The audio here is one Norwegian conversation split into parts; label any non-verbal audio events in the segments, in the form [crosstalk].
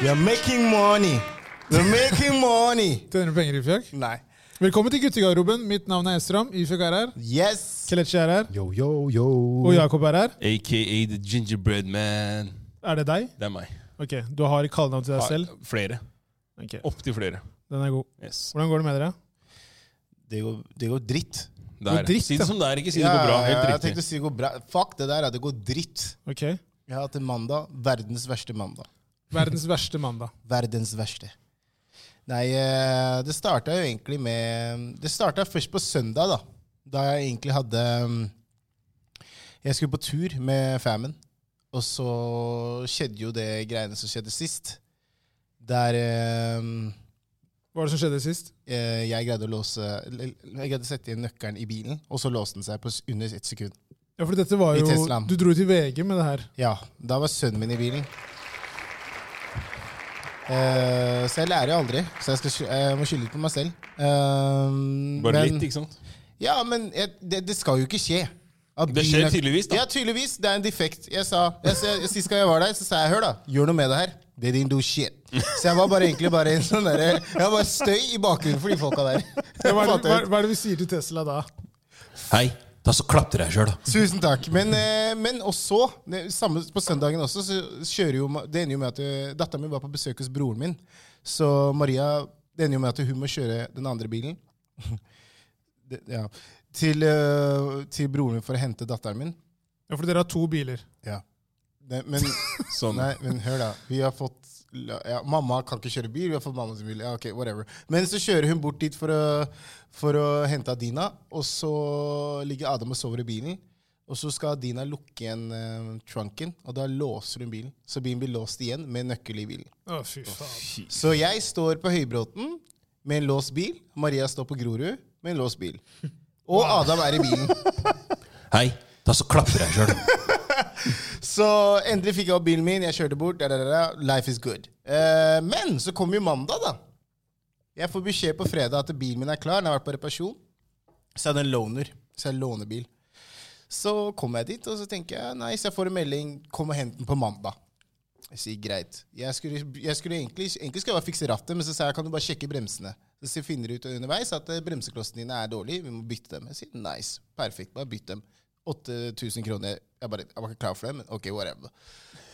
We are making money. We are making money. Tjener du penger, Ifjak? Nei. Velkommen til guttegarderoben. Mitt navn er Estram. Ifjak er her. Yes. Kelechi er her. Yo, yo, yo. Og Jakob er her. AKA The Gingerbread Man. Er det deg? Det er meg. Ok, Du har kallenavn til deg Har selv? Flere. Ok, Opptil flere. Den er god. Yes. Hvordan går det med dere? Det går, det går dritt. Der. dritt, si det da. som det er, ikke si det går bra. Ja, Helt Jeg tenkte riktig. å si det går bra. Fuck det der, ja. Det går dritt. Ok. Jeg har hatt en mandag. Verdens verste mandag. Verdens verste mandag. Verdens verste. Nei, eh, det starta jo egentlig med mm, Det starta først på søndag, da. Da jeg egentlig hadde mm, Jeg skulle på tur med famen. Og så skjedde jo det greiene som skjedde sist. Der eh, Hva er det som skjedde sist? eh, jeg greide å låse eller, Jeg greide å sette igjen nøkkelen i bilen, og så låste den seg på s- under ett sekund. Ja, for dette var I jo Teslaen. Du dro til VG med det her. Ja, da var sønnen min i bilen. Eh, så jeg lærer jo aldri, så jeg, skal, sky- jeg må skylde litt på meg selv. Eh, Bare men- litt, ikke sant? Ja, men jeg, det, det skal jo ikke skje. At Det bilen skjer er- tydeligvis, da. Ja, tydeligvis. Det er en defekt. Jeg sa, jeg, jeg, Sist gang jeg var der, så sa jeg hør, da. Gjør noe med det her. They didn't do shit. Så jeg var bare egentlig bare en sånn derre Jeg var bare støy i bakgrunnen for de folka der. Ja, hva, er det, Fant jeg hva, ut. hva er det vi sier til Tesla da? Hei, ta så klapp til deg sjøl, da. Tusen takk. Men, eh, men også, det, samme på søndagen også, så kjører jo ma- Det ender jo med at eh, datteren min var på besøk hos broren min. Så Maria Det ender jo med at hun må kjøre den andre bilen. [laughs] det, ja. til, eh, til broren min for å hente datteren min. Ja, For dere har to biler. Ja. Det, men, Sånn. nei, men hør, da. Vi har fått la- ja, Mamma kan ikke kjøre bil. Vi har fått mamma sin bil. Ja, ok, whatever. Men så kjører hun bort dit for å, for å hente Adina, og så ligger Adam og sover i bilen. Og så skal Adina lukke igjen eh, trunken, og da låser hun bilen. Så bilen blir låst igjen med nøkkel i bilen. Å, fy faen. Så jeg står på Høybråten med en låst bil. Maria står på Grorud med en låst bil. Og Adam er i bilen. Hei, ta så klapp til deg sjøl. Så endelig fikk jeg opp bilen min, jeg kjørte bort. Da, da, da, da. Life is good. Eh, men så kom jo mandag, da. Jeg får beskjed på fredag at bilen min er klar. Den har vært på reparasjon. Så er det en loaner. Så jeg låner bil. Så kommer jeg dit, og så tenker jeg nei, så jeg får en melding. Kom og hent den på mandag. Jeg sier greit. Jeg skulle, jeg skulle egentlig, egentlig skulle jeg bare fikse rattet, men så sa jeg kan du bare sjekke bremsene. Så jeg finner ut underveis at eh, bremseklossene dine er dårlige, vi må bytte dem. Jeg sier nice, perfekt, bare bytt dem. 8000 kroner. Jeg, bare, jeg var ikke klar for det, men ok, whatever.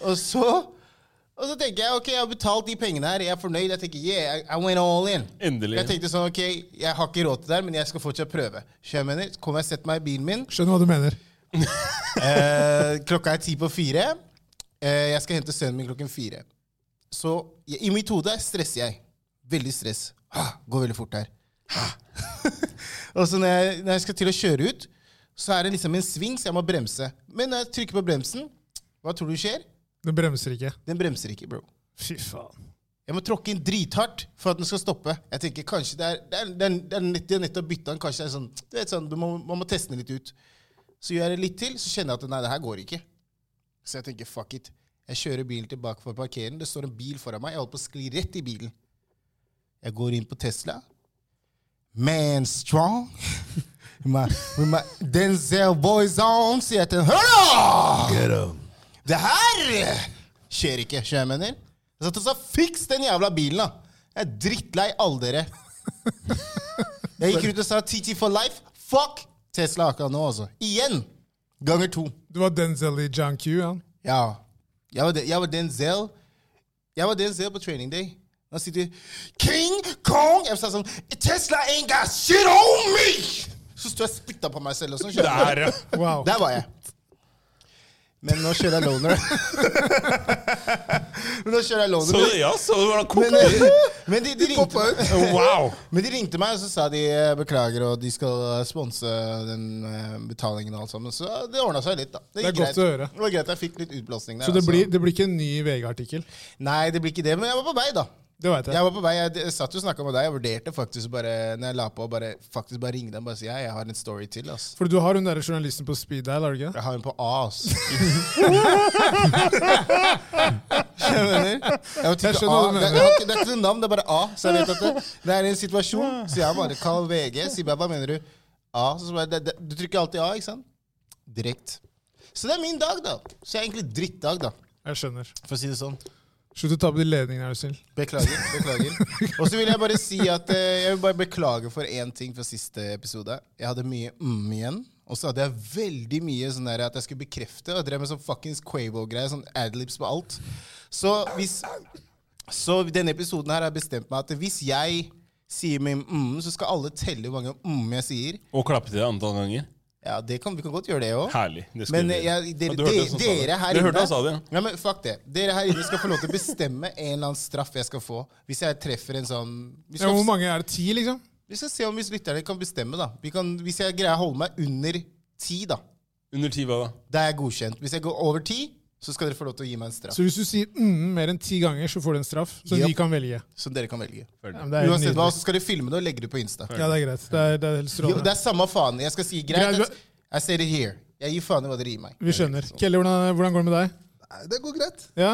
Og så, og så tenker jeg ok, jeg har betalt de pengene her, jeg er fornøyd. Jeg tenker yeah, I, I went all in. Endelig. Jeg tenkte sånn ok, jeg har ikke råd til det her, men jeg skal fortsatt prøve. Så jeg mener, så kommer jeg og setter meg i bilen min. Skjønner hva du mener. Eh, klokka er ti på fire. Eh, jeg skal hente sønnen min klokken fire. Så jeg, i mitt hode stresser jeg. Veldig stress. Ah, går veldig fort her. Ah. [laughs] og så når jeg, når jeg skal til å kjøre ut, så er det liksom en sving, så jeg må bremse. Men når jeg trykker på bremsen, hva tror du skjer? Den bremser ikke. Den bremser ikke, bro. Fy faen. Jeg må tråkke inn drithardt for at den skal stoppe. Jeg tenker kanskje det er, det er, det er, det er nett, de har nettopp bytta den. Kanskje det er sånn, du vet sånn, du må, Man må teste den litt ut. Så gjør jeg det litt til, så kjenner jeg at nei, det her går ikke. Så jeg tenker fuck it. Jeg kjører bilen tilbake for å parkere den. Det står en bil foran meg. Jeg holder på å skli rett i bilen. Jeg går inn på Tesla. Man strong. [laughs] With my, with my Denzel boys on, sier jeg til den. Hør da! Det her skjer ikke, skjønner jeg mener. Så så fiks den jævla bilen, da. Jeg er drittlei alle dere. Jeg gikk ut og sa TT for life. Fuck Tesla akkurat nå, altså. Igjen. Ganger to. Du var Denzel i John Q, han. Ja. Jeg var, de, jeg var Denzel. Jeg var Denzel på training day. Han sitter King Kong! Jeg sa sånn Tesla ain't got shit on me! Så sto jeg og spytta på meg selv og sånn. skjønner du? Der, ja. Wow. Der var jeg. Men nå kjører jeg loner. [laughs] Men nå kjører jeg Så loner. ja, så det var da Men, kokte. [laughs] men, de, de ringte, Wow. men de ringte meg, og så sa de eh, beklager, og de skal eh, sponse den eh, betalingen og alt sammen. Så det ordna seg litt, da. Det er gikk godt greit. å høre. Det var greit jeg fikk litt utblåsning der. Så det altså. blir, det blir ikke en ny VG-artikkel. Nei, det blir ikke det, men jeg var på vei, da. Det veit jeg. Jeg var på vei, jeg d- satt jo og snakka med deg. Jeg vurderte faktisk bare når jeg la på, bare, faktisk bare ringe dem og bare si ja, jeg har en story til. ass. For du har hun der journalisten på speed dial, har du ikke? det? Jeg har en på A, ass. Skjønner du? Jeg vet ikke Jeg skjønner hva A. du Det, mener. det, har ikke- det er ikke noe navn, det er bare A. Så jeg vet at det, det er en situasjon. Så jeg bare kall VG. Si meg, hva mener du? A. Så bare, det, det, du trykker alltid A, ikke sant? Direkt. Så det er min dag, da. Så jeg er egentlig drittdag, da. Jeg skjønner. For å si det sånn. Slutt å ta på de ledningene, er du snill. Beklager. beklager. Og så vil jeg bare si at eh, jeg vil bare beklage for én ting fra siste episode. Jeg hadde mye mm igjen. Og så hadde jeg veldig mye sånn der at jeg skulle bekrefte. Og jeg drev med sånn fuckings Quavo-greie. Sånn adlibs på alt. Så hvis Så denne episoden her har jeg bestemt meg at hvis jeg sier min mm, så skal alle telle hvor mange mm jeg sier. Og klappe til deg antall ganger. Ja, det kan, vi kan godt gjøre det òg. Herlig. Det skal Men vi eh, gjøre. jeg, dere, Ja, de- dere her du hørte han som sa det. Du inne hørte han sa det, ja. Nei, men fuck det. Dere her inne skal få lov til å bestemme en eller annen straff jeg skal få. Hvis jeg treffer en sånn Vi Ja, skal, hvor mange er det? Ti, liksom? vi skal se om hvis lytterne kan bestemme, da. Vi kan, hvis jeg greier å holde meg under ti, da. Under ti, hva da? Da er jeg godkjent. Hvis jeg går over ti, så skal dere få lov til å gi meg en straff. Så hvis du sier mm mer enn ti ganger, så får du en straff som Yep. de kan velge. Som dere kan velge. Ja, Ferdig. men det er helt Uansett hva, nydelig. så skal dere filme det og legge det på Insta. Ja, det er greit. Det er, det er Jo, helt det strålende. er samme faen. Jeg skal si greit. Greit, jeg- I said it here. Jeg gir faen i hva dere gir meg. Vi skjønner. Kelle, hvordan, hvordan går det med deg? Nei, det går greit. Ja?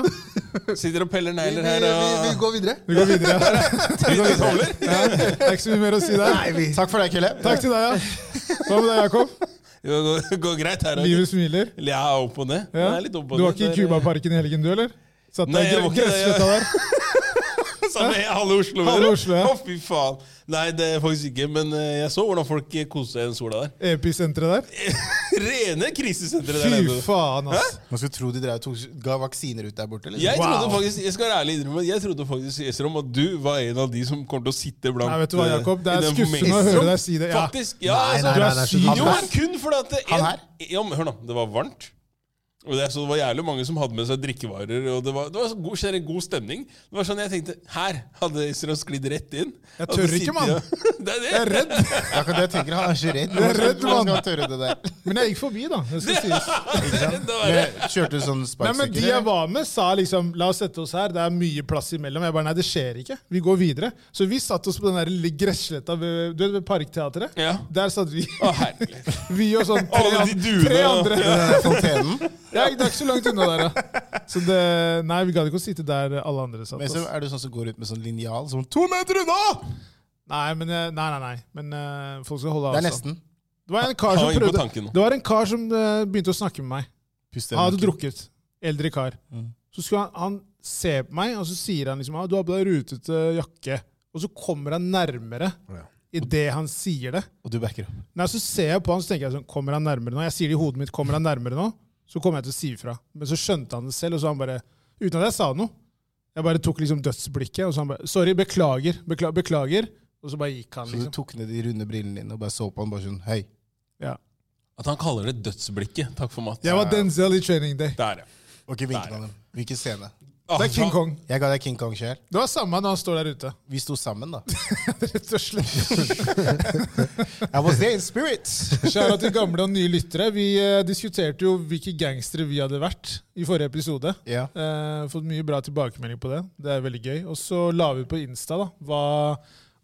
Sitter og peller Vi, negler vi, her vi, vi og går videre. Vi går [laughs] videre. Vi går videre. Ja, det er ikke så mye mer å si der. Takk for deg, Kelle. Takk til deg, ja. Hva med deg, Jakob? Det går, går greit her. Livet smiler. Jeg er opp på det. Ja. Jeg er litt opp på Du var ikke i det. Det [laughs] er- Cubaparken i helgen, du, eller? Satt eh. Nei, deg jeg i gre- var ikke det, jeg- gresssletta der? Samme halve Oslo. mener Halve du? Oslo, ja. Å, fy faen. Nei, det er faktisk ikke. Men eh, jeg så hvordan folk eh, koste seg i den sola der. [laughs] Episenteret der? Rene krisesenteret Fy der nede. faen, ass. Man skulle tro de drev og tok- ga vaksiner ut der borte. Liksom. Jeg Wow. trodde faktisk, jeg skal være ærlig innrømme, jeg trodde faktisk Esrom, at du var en av de som kommer til å sitte blant Nei, vet du hva, eh, Jakob? Det i er den skuffende å formen. høre deg si det. Ja. Faktisk. Ja, altså, Du Nei, er nei, syk. slutt. Jo, men kun fordi at det- Han her? Ja, men hør nå, det var varmt. Og det, så det var jævlig mange som hadde med seg drikkevarer. Og det var, det var så god, generelt god stemning. Det var sånn jeg tenkte Her hadde Israel sklidd rett inn. Jeg Hadde tør sittet ikke, mann. og- [laughs] Det er [laughs] det. Jeg er redd. [laughs] Ja, kan- jeg tenker Han er så redd. er Hvordan redd, skal han tørre det der? Men jeg gikk forbi, da. Det skal sies. Det er redd å være- Men, kjørte du sånn Nei, men De sparkesykkel? jeg eller? var med, sa liksom la oss sette oss her, det er mye plass imellom. Jeg bare nei, det skjer ikke. Vi går videre. Så vi satt oss på den der lille gressletta ved, du vet, ved Parkteatret. Ja. Der satt vi. Å, herlig. [laughs] Vi og sånn tre, Alle de an- duene, tre ja. andre. Den der Fontenen? Ja, det er ikke så langt unna der, da. Så det, nei, vi gadd ikke å sitte der alle andre satt. Men så ass. er du sånn som går ut med sånn linjal sånn To meter unna! Nei, men, eh, nei, nei, nei. men eh, folk skal holde Det er avstand. nesten. Det var en kar Han som var inne på prøvde tanken nå. Det var en kar som eh, begynte å snakke med meg. Pust Han hadde drukket. Eldre kar. Så skulle han, han se på meg, og så sier han liksom ah, 'Du har på deg rutete jakke'. Og så kommer han nærmere Ja. idet han sier det. Og du backer opp. Nei, Så ser jeg på han så tenker jeg sånn, kommer han nærmere nå? Jeg sier det i hodet mitt, kommer han nærmere nå? Så kommer jeg til å si ifra. Men så skjønte han det selv, og så han bare Uten at jeg sa noe. Jeg bare tok liksom dødsblikket, og så han bare 'Sorry, beklager. Bekla beklager.' Og så bare gikk han, Så du liksom. tok ned de runde brillene dine og bare så på han bare sånn Hei. Ja. At han kaller det dødsblikket. Takk for mat. Jeg var Denzel i Training Day. Der, ja. Ok, vinken av dem. Hvilken scene? Ah, Det er King faen. Kong. Jeg ga deg King Kong sjøl. Det var samme når han står der ute. [laughs] Vi sto sammen, da. Rett og slett. I was there in spirit. Kjære til gamle og nye lyttere. Vi eh, diskuterte jo hvilke gangstere vi hadde vært i forrige episode. Ja. Eh, fått mye bra tilbakemelding på det. Det er veldig gøy. Og så la vi på Insta da, hva,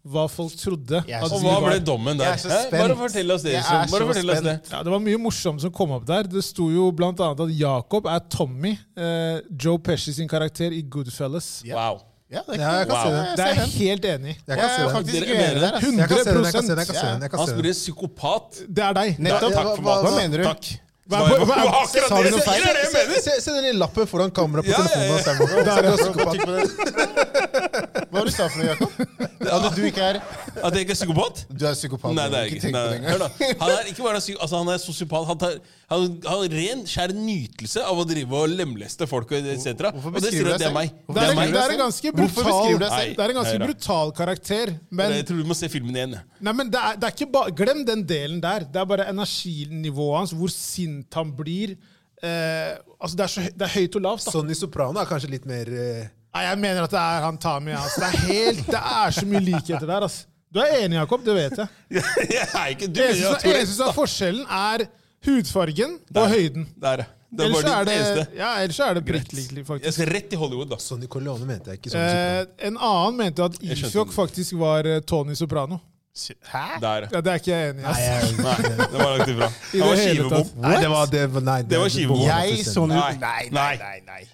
hva folk trodde. Jeg er at så Og vi hva var. ble dommen der? Jeg er så Hæ? spent. Bare fortell oss det. Jeg er Esrom. Bare så fortell oss det. spent. Ja, det var mye morsomt som kom opp der. Det sto jo bl.a. at Jacob er Tommy. Eh, Joe Pesci sin karakter i Goodfellas. Ja. Wow. Ja, det er Ja, jeg kan Wow. se den. Det er jeg helt enig Jeg i. Jeg kan se er den. faktisk ikke Dere- enig der. Jeg ass. kan se den, jeg kan se 100% den. Jeg kan se den. Jeg kan Han se spiller den. en psykopat. Det er deg. Nettopp. Da- Takk for Hva- hva- maten. Hva mener du? Takk. Hva- Det hva- var- det var akkurat Sa vi det- noe feil? det er det jeg Se, mener. se, se den lille lappen foran kameraet på Ja, ja, telefonen. ja. hans, Herman. Han ser ut som en sånn psykopat. Hva var det du sa for noe, Jakob? At du ikke er At jeg ikke er psykopat? Du er psykopat. Nei, det er ikke jeg tenk ikke. på det Nei, nei. engang. Hør da. Han er ikke bare psy- altså, han er sosiopat. Han tar, han han har ren, skjær nytelse av å drive og lemleste folk og etc. Hvorfor Og det beskriver sier du at det deg er meg. selv? Det Det er, er en- meg. det er en ganske Hvorfor beskriver brutal, du deg selv? det er en ganske Nei, nei da. brutal karakter, men Jeg tror du må se filmen igjen. jeg. Nei, men det er, det er ikke ba Glem den delen der. Det er bare energinivået hans, hvor sint han blir. Eh, altså det, er så, hø- det er høyt og lavt. Da. Sonny Soprano er kanskje litt mer eh, Nei, jeg mener at det er han Tami. Altså. Det, er helt, det er så mye likheter der. Altså. Du er enig, Jakob? Det vet jeg. Jeg er ikke du. Det jeg har eneste, to eneste som er forskjellen, er hudfargen Der. og høyden. Der, ja. Det er Ellers så bare er det det, eneste. ja, ellers så er det Greit. prikklikelig, Jeg faktisk. skal rett til Hollywood, altså. da. Sonny Corleone mente jeg ikke. Sonny Eh, Soprano. en annen mente at skjønte Ifjok det. faktisk var eh, Tony Soprano. Hæ? Der. ja. Ja, Det er ikke jeg enig i. Nei, ass. jeg- Nei, det var langt ifra. I Han var det hele skivebom. tatt. Nei, det var det var- Nei, Det var skivebom. Jeg sånn Nei. ut Nei, nei, nei. nei.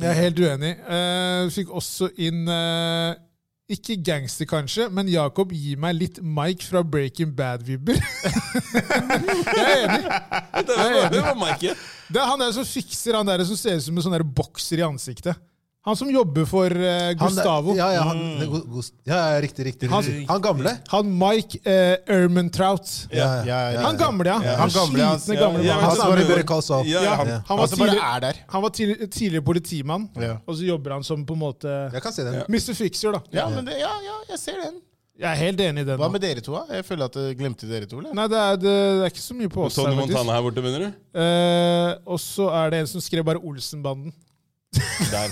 Jeg er helt uenig. Eh, fikk også inn eh, ikke gangster, kanskje, men Jakob gir meg litt Mike fra Breaking Bad-vibber. [laughs] jeg er enig. Det var, det var meg ikke. Det er han der som fikser han der som ser ut som en sånn der bokser i ansiktet. Han som jobber for eh, Han der- Gustavo. Ja, ja, han, Mm. Gu- Gust- ja, ja riktig, riktig. Han- riktig. Han gamle? Han Mike eh, Ermentrout. Ja. Han gamle, ja. Han gamle, ja. Slitne, Ja, gamle ja, mann. Han men så som er var det- i Better Call Saul. Ja, ja. Ja. Han var Altså bare tidligere, er der. han var tidlig- tidligere politimann, Ja. og så jobber han som på en måte Jeg kan se den. Mr. Fixer, da. Ja, men det, ja, ja, jeg ser den. Jeg er helt enig i den. Hva da. med dere to? da? Jeg føler at jeg glemte dere to. eller? Nei, det er, det, det er ikke så mye på oss her, Tony faktisk. Montana her borte, mener du? Eh, og så er det en som skrev bare Olsenbanden. Der.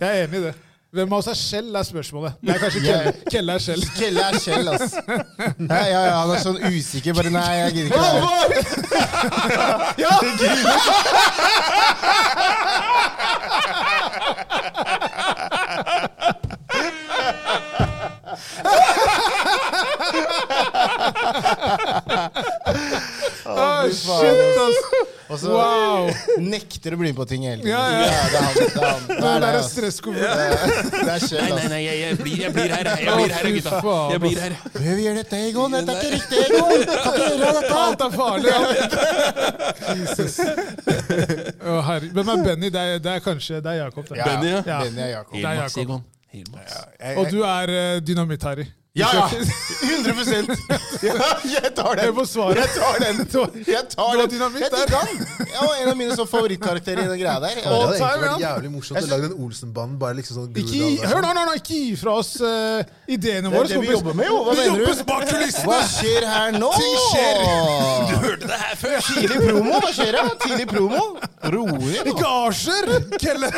Jeg er enig i det. Hvem av oss er Skjell, er spørsmålet. Det er kanskje Kelle, Kelle er Skjell. Kjell er Kjell, ass. Ja, ja, ja, han er sånn usikker. Bare nei, jeg gidder ikke. være- [laughs] Ah, fy faen, shit, ass! Og så Wow! nekter å bli med på ting hele tiden. Ja, ja. det er han. Det er, han. Det Det er, det, der er ass. stresskonferanse. Det er Kjell, ass. nei, jeg, jeg blir, jeg blir her. Jeg blir her, gutta. Jeg blir her. Prøv å gjøre dette, Egon. Dette er ikke riktig, Egon. Kan ikke gjøre dette. Alt er farlig. Alt. Jesus. [laughs] Å, herre. Hvem er Benny? Det er, det er kanskje det er Jakob. det. Benny, ja. Ja. Benny er Jakob. Det er Jakob. Jeg- Og du er eh, Dynamitt-Harry. Ja, ja. 100 [laughs] ja, Jeg tar [laughs] den. Jeg får svare. Jeg tar den. Jeg tar [laughs] Du har den. dynamitt Jeg der. digger han. Ja, og en av mine sånn favorittkarakterer i den greia der. Det Og hadde time, egentlig vært ja. jævlig morsomt å lage den Olsen-banen. bare liksom sånn Ikke, guru gi- og alt hør nå, det nå, nå, ikke gi fra oss eh, ideene det våre. er det vi kompis. jobber med, jo. Hva Vi mener jobbes du? bak altså. kulissene. Hva skjer her nå? Ting [laughs] skjer. Du hørte det her før! Tidlig promo, hva skjer da? Tidlig promo? Rolig nå. Ikke Asher! [laughs] Kelle.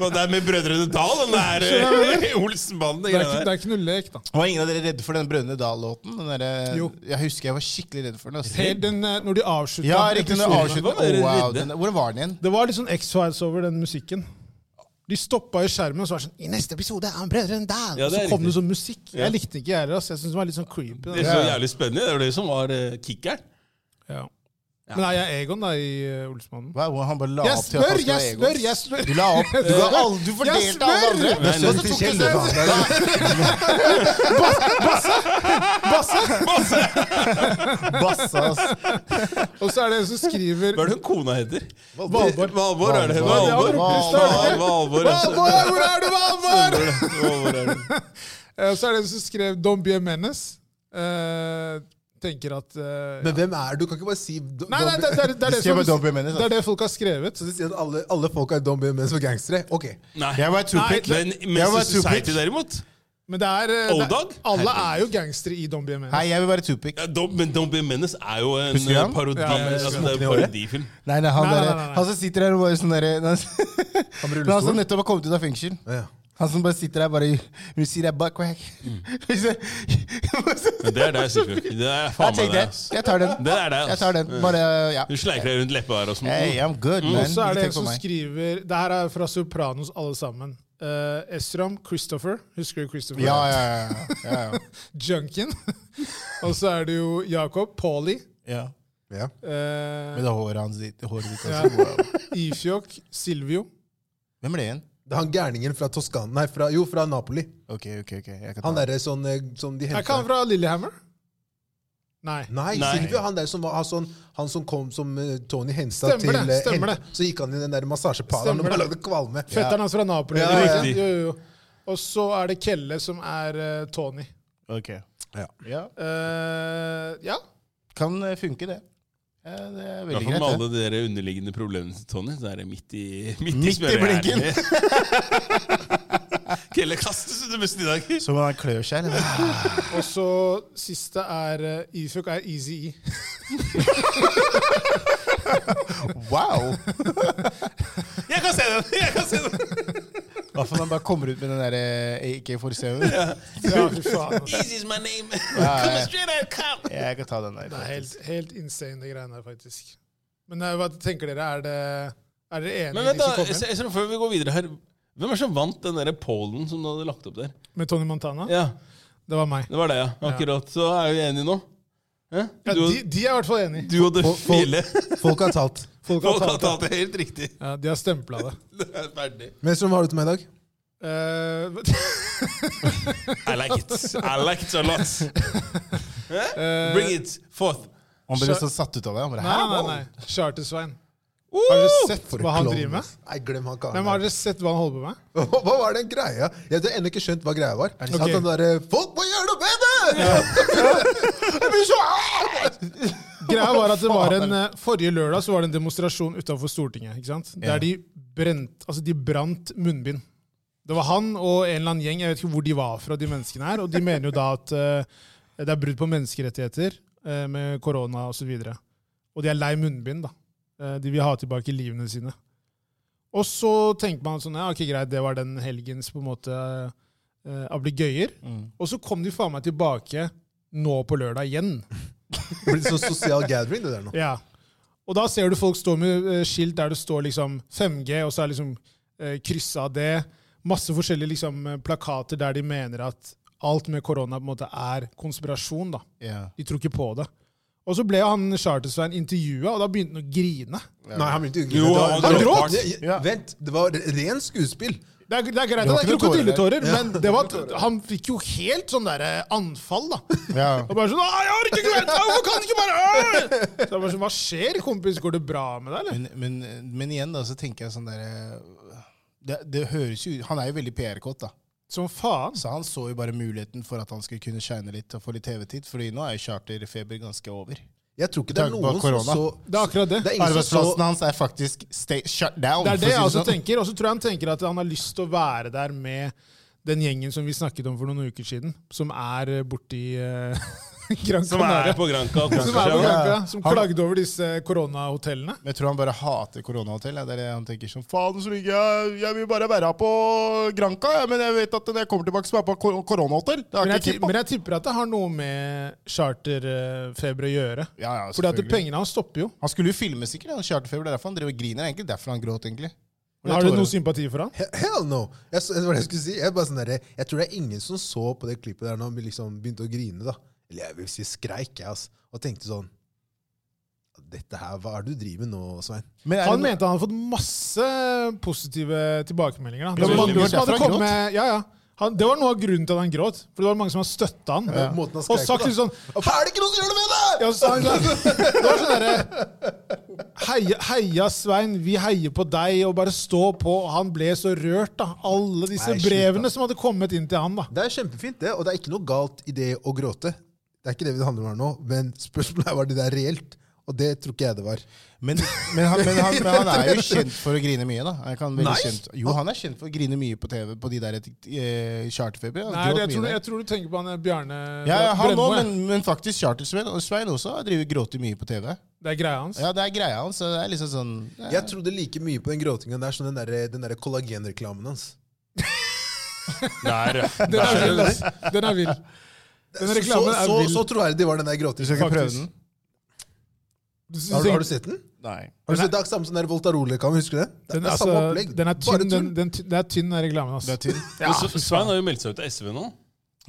Men Det er med Brødrene Dal, den der eh, Olsenbanden. Det er, ikke, det er ikke noe lek, da. Var ingen av dere redde for den Brødrene Dal-låten? Den derre- Jo. Jeg husker jeg var skikkelig redd for den. ass. Helt den, eh, når de avslutta Ja, riktig. Den episoden. avslutten. Hva var det Oh, dere wow. redde? Den, hvor var den igjen? Det var litt sånn X-Files over den musikken. De stoppa i skjermen og så var det sånn I neste episode er han Brødrene Dal! Ja, og det så er kom riktig. det sånn musikk. Jeg likte den ikke jeg heller. ass. Jeg syntes den var litt sånn creepy. Det er da. så jævlig spennende. Det var det som var eh, kickeren. Ja. Men er jeg Egon, da, i eh, Olsmannen? Hva- hvor Han bare la Jeg opp til at han spør, jeg skulle ha spør, Egons. jeg spør! Du la opp. Du, ga alle, du Jeg fordelte alle spør! andre. Nei, nei, Og så Til tok Kjell, du- det var- det er- Basse, ass. Og så er det en som skriver [laughs] Hva er det hun kona heter? Valborg. Valborg er det. Valborg. Valborg. Valborg. Valborg. Valborg. altså. Valborg, hvor er du, Valborg?! Valborg er det. Eh, Og så er det en som skrev Don't be a menace. Eh, tenker at eh, Men hvem er du? Kan ikke bare si do- Nei, nei, don't det, be- det, er- det, er De skrev det, bare som, Don't be a menace, det er det folk har skrevet. Så de sier at alle, alle folk er don't be men som er gangstere? Ok. Nei. Jeg var et tupic. Men Jeg var Mr. tupic. Society, derimot Men det er, eh, Old det, Dog? alle er jo gangstere i Don't be a menace. Nei, jeg vil være tupic. ja, Don't, Men Don't Be a Menace er jo en Husker du han? eh, parodi, Ja, jeg altså, det er en i håret. parodifilm. Nei, nei, han, Nei, nei, derre- nei, nei. han som sitter her og bare sånn [laughs] derre Han med han altså, som rullestol? nettopp har kommet ut av fengsel. Ja. Han som bare sitter der bare You see that butt crack? Mm. [laughs] Men Det er deg, Sigurd. Det er Jeg faen meg tenkte deg. jeg. ass. Jeg tar den. Det er deg. ass. Jeg tar den. Bare, ja. Du sleiker deg rundt leppa her og sånn. Hey, I'm good, man. Og så er det en Ikke tenk på som meg. skriver Det her er fra Sopranos, alle sammen. Eh, Esram, Christopher. Husker du Christopher? Ja, ja, [laughs] ja, ja, ja. Junkin. [laughs] og så er det jo Jakob. Pauli. ja. ja. Uh, Med det håret hans ditt. det Håret ditt ja, altså. Ifjok. Silvio. Hvem er det igjen? Det er han gærningen fra Toskana Nei, fra, jo, fra Napoli. Ok, ok, ok. Jeg kan ta Han den. derre sånn eh, som de Er ikke han henta fra Lillehammer? Nei. Nei, Nei. Silvio. Han der som, var, han sånn, han som kom som eh, Tony Henstad Stemmer det, til eh, stemmer Hen- Så gikk han i den der massasjepaleren Stemmer og bare det. lagde kvalme. Fetteren hans fra Napoli. Ja, ja, ja. ikke sant? Jo, jo, jo. Og så er det Kelle, som er eh, Tony. Ok. Ja. Ja. Eh, ja. Kan eh, funke, det. Ja, det er I hvert veldig fall med greit. alle dere underliggende problemene til Tony. Så er det midt i, midt i, Midt i smørøyet. blinken. [laughs] Kelle kastes under bussen i dag. det. Som om han klør seg, [laughs] eller? Og så siste er eh, Ifjok er Easy E. Wow! Jeg kan se den! jeg kan se den. Hva for man bare kommer ut med den eh, derre AK-47? [laughs] Ja, fy faen. altså. ass. Easy is my name. ja. Come straight out, come. Jeg kan ta den der. Det er helt, faktisk. helt insane, de greiene her, faktisk. Men eh, hva tenker dere? Er, det, er dere enige Men i vent de som da, kommer inn? jeg- jeg- før vi går videre her. Hvem er det som vant den der pollen som du hadde lagt opp der? med Tony Montana? Ja, Det var meg. Det var det, ja. Akkurat. Så er vi enige nå. Hæ? Ja, Du, de, de er i hvert fall enige. du og det fille. Folk har talt. Folk har Folk har talt det. tatt det helt riktig. Ja, de har [laughs] stempla det. Det er ferdig. Men som har du til meg i dag? Eh, I like it. I like it a lot. Hæ? Bring it forth. Han ble så satt ut av det. Han bare, nei, Hæ? nei, Wow. nei. Charter-Svein. Har dere sett Uh, For en hva han klovn, altså. driver med? ass. Nei, glem han Nei, men har karen. der. dere sett hva han holder på med? Hva hva var den greia? Jeg har ennå ikke skjønt hva greia var. Er det sant Ok. han derre Folk må gjøre noe bedre! Jeg blir så ah! Greia var at det var en, eh, Forrige lørdag så var det en demonstrasjon utenfor Stortinget. ikke sant? Der de, brent, altså de brant munnbind. Det var han og en eller annen gjeng, jeg vet ikke hvor de var fra, de menneskene her. Og de mener jo da at eh, det er brudd på menneskerettigheter eh, med korona osv. Og, så videre. og de er lei munnbind, da. Eh, de vil ha tilbake livene sine. Og så tenker man sånn, ja, ok, greit, det var den helgens på en måte eh, ablegøyer. Og så kom de faen meg tilbake nå på lørdag igjen. [laughs] Det blir sånn sosial gathering, det der nå. Ja. Og da ser du folk stå med eh, skilt der det står liksom 5G, og så er liksom eh, kryssa av det. Masse forskjellige liksom, eh, plakater der de mener at alt med korona på en måte er konspirasjon. da. Ja. De tror ikke på det. Og så ble jo han Charter-Svein intervjua, og da begynte han å grine. Nei, han begynte ikke Jo, Det var- han det var- gråt. Det- Ja. Vent, det var ren skuespill. Det er, det er greit, det er Det var ikke noe tårer krokodilletårer, men det var at han fikk jo helt sånn derre anfall, da. Ja. Og bare sånn «Nei, 'Jeg har ikke glemt det! Hvorfor kan du ikke bare øh!» Så jeg bare sånn, Hva skjer, kompis? Går det bra med deg, eller? Men, men, men igjen, da, så tenker jeg sånn derre det, det høres jo ut Han er jo veldig PR-kåt, da. Som faen. Så han så jo bare muligheten for at han skulle kunne shine litt og få litt TV-tid. Fordi nå er jo charterfeber ganske over. Jeg tror ikke det er Tanke på noen som korona. så Det er akkurat det. Det er ingen som Arbeidsplassen så hans er faktisk sta- shut down. Det er det jeg også for å si sånn. tenker. Og så tror jeg han tenker at han har lyst til å være der med den gjengen som vi snakket om for noen uker siden, som er eh, borti eh, [laughs] Gran Som er Canaria. på Granca. Som, er på Gran kanskje. Canaria, som klagde over disse koronahotellene. Men jeg tror han bare hater koronahotell. ja. Det er det han tenker sånn Faen, så ligger jeg Jeg vil bare være på Granca, ja, men jeg vet at når jeg kommer tilbake, så er jeg på kor- koronahotell. Det har Men jeg, jeg ikke ti- tid på. men jeg tipper at det har noe med charterfeber å gjøre. Ja, Fordi ja, at selvfølgelig. pengene hans stopper jo. Han skulle jo filme sikkert, han charterfeber. Det er derfor han driver og griner. egentlig. Derfor han gråt, egentlig. Og det Har du tårer. noe sympati for han? He- Hell no! Jeg, så- det var det jeg skulle si. Jeg, bare sånn derre- jeg tror det er ingen som så på det klippet der når han liksom begynte å grine. da. Eller jeg vil si skreik, jeg, altså. Og tenkte sånn Dette her, hva er det du driver med nå, Svein? Men er Han det no- mente han hadde fått masse positive tilbakemeldinger. Da. Det Ja, var men det mange var som hadde derfor han kommet med, ja, ja. Han, det var noe av grunnen til at han gråt. For det var mange som hadde støtta han. Måten han Og skreik på, sagt da. litt sånn Hva er det ikke noen som gjør det med deg?! Ja, så sa han sånn, det var sånn derre heia, heia, Svein, vi heier på deg, og bare stå på. Og Han ble så rørt, da. Alle disse Nei, slutt, da. brevene som hadde kommet inn til han, da. Det er kjempefint, det. Og det er ikke noe galt i det å gråte. Det er ikke det det handler om her nå, men spørsmålet er var det der reelt. Og det tror ikke jeg det var. Men, men, han, men, han, men han er jo kjent for å grine mye, da. Han kan veldig Nei. kjent. Jo, han er kjent for å grine mye på TV på de der eh, charterfeber. Han Nei, gråt jeg mye tror, der. jeg tror du tenker på han eh, Bjarne ja, ja, han Brennmo, òg, ja. men, men faktisk Charter-Svein og Svein også har drivet gråter mye på TV. Det er greia hans. Ja, Det er greia hans. så Det er liksom sånn ja. Jeg trodde like mye på den gråtinga der som den derre den der kollagenreklamen hans. Der, Den er vill. der. ass. Den er vill. Den Så, så, reklamen er så, vill. så troverdig var den der gråtinga. Skal jeg prøve faktisk. den? Du Har, har tenker- du sett den? Nei. Har du sett Det er samme som den der Voltarole-reklamen, husker du det? Det, Den, det er altså, samme opplegg. den er Bare tynn, den, tull. den, ty- det er tynn, den reklamen. ass. Du er tynn? Men så- Svein har jo meldt seg ut av SV nå.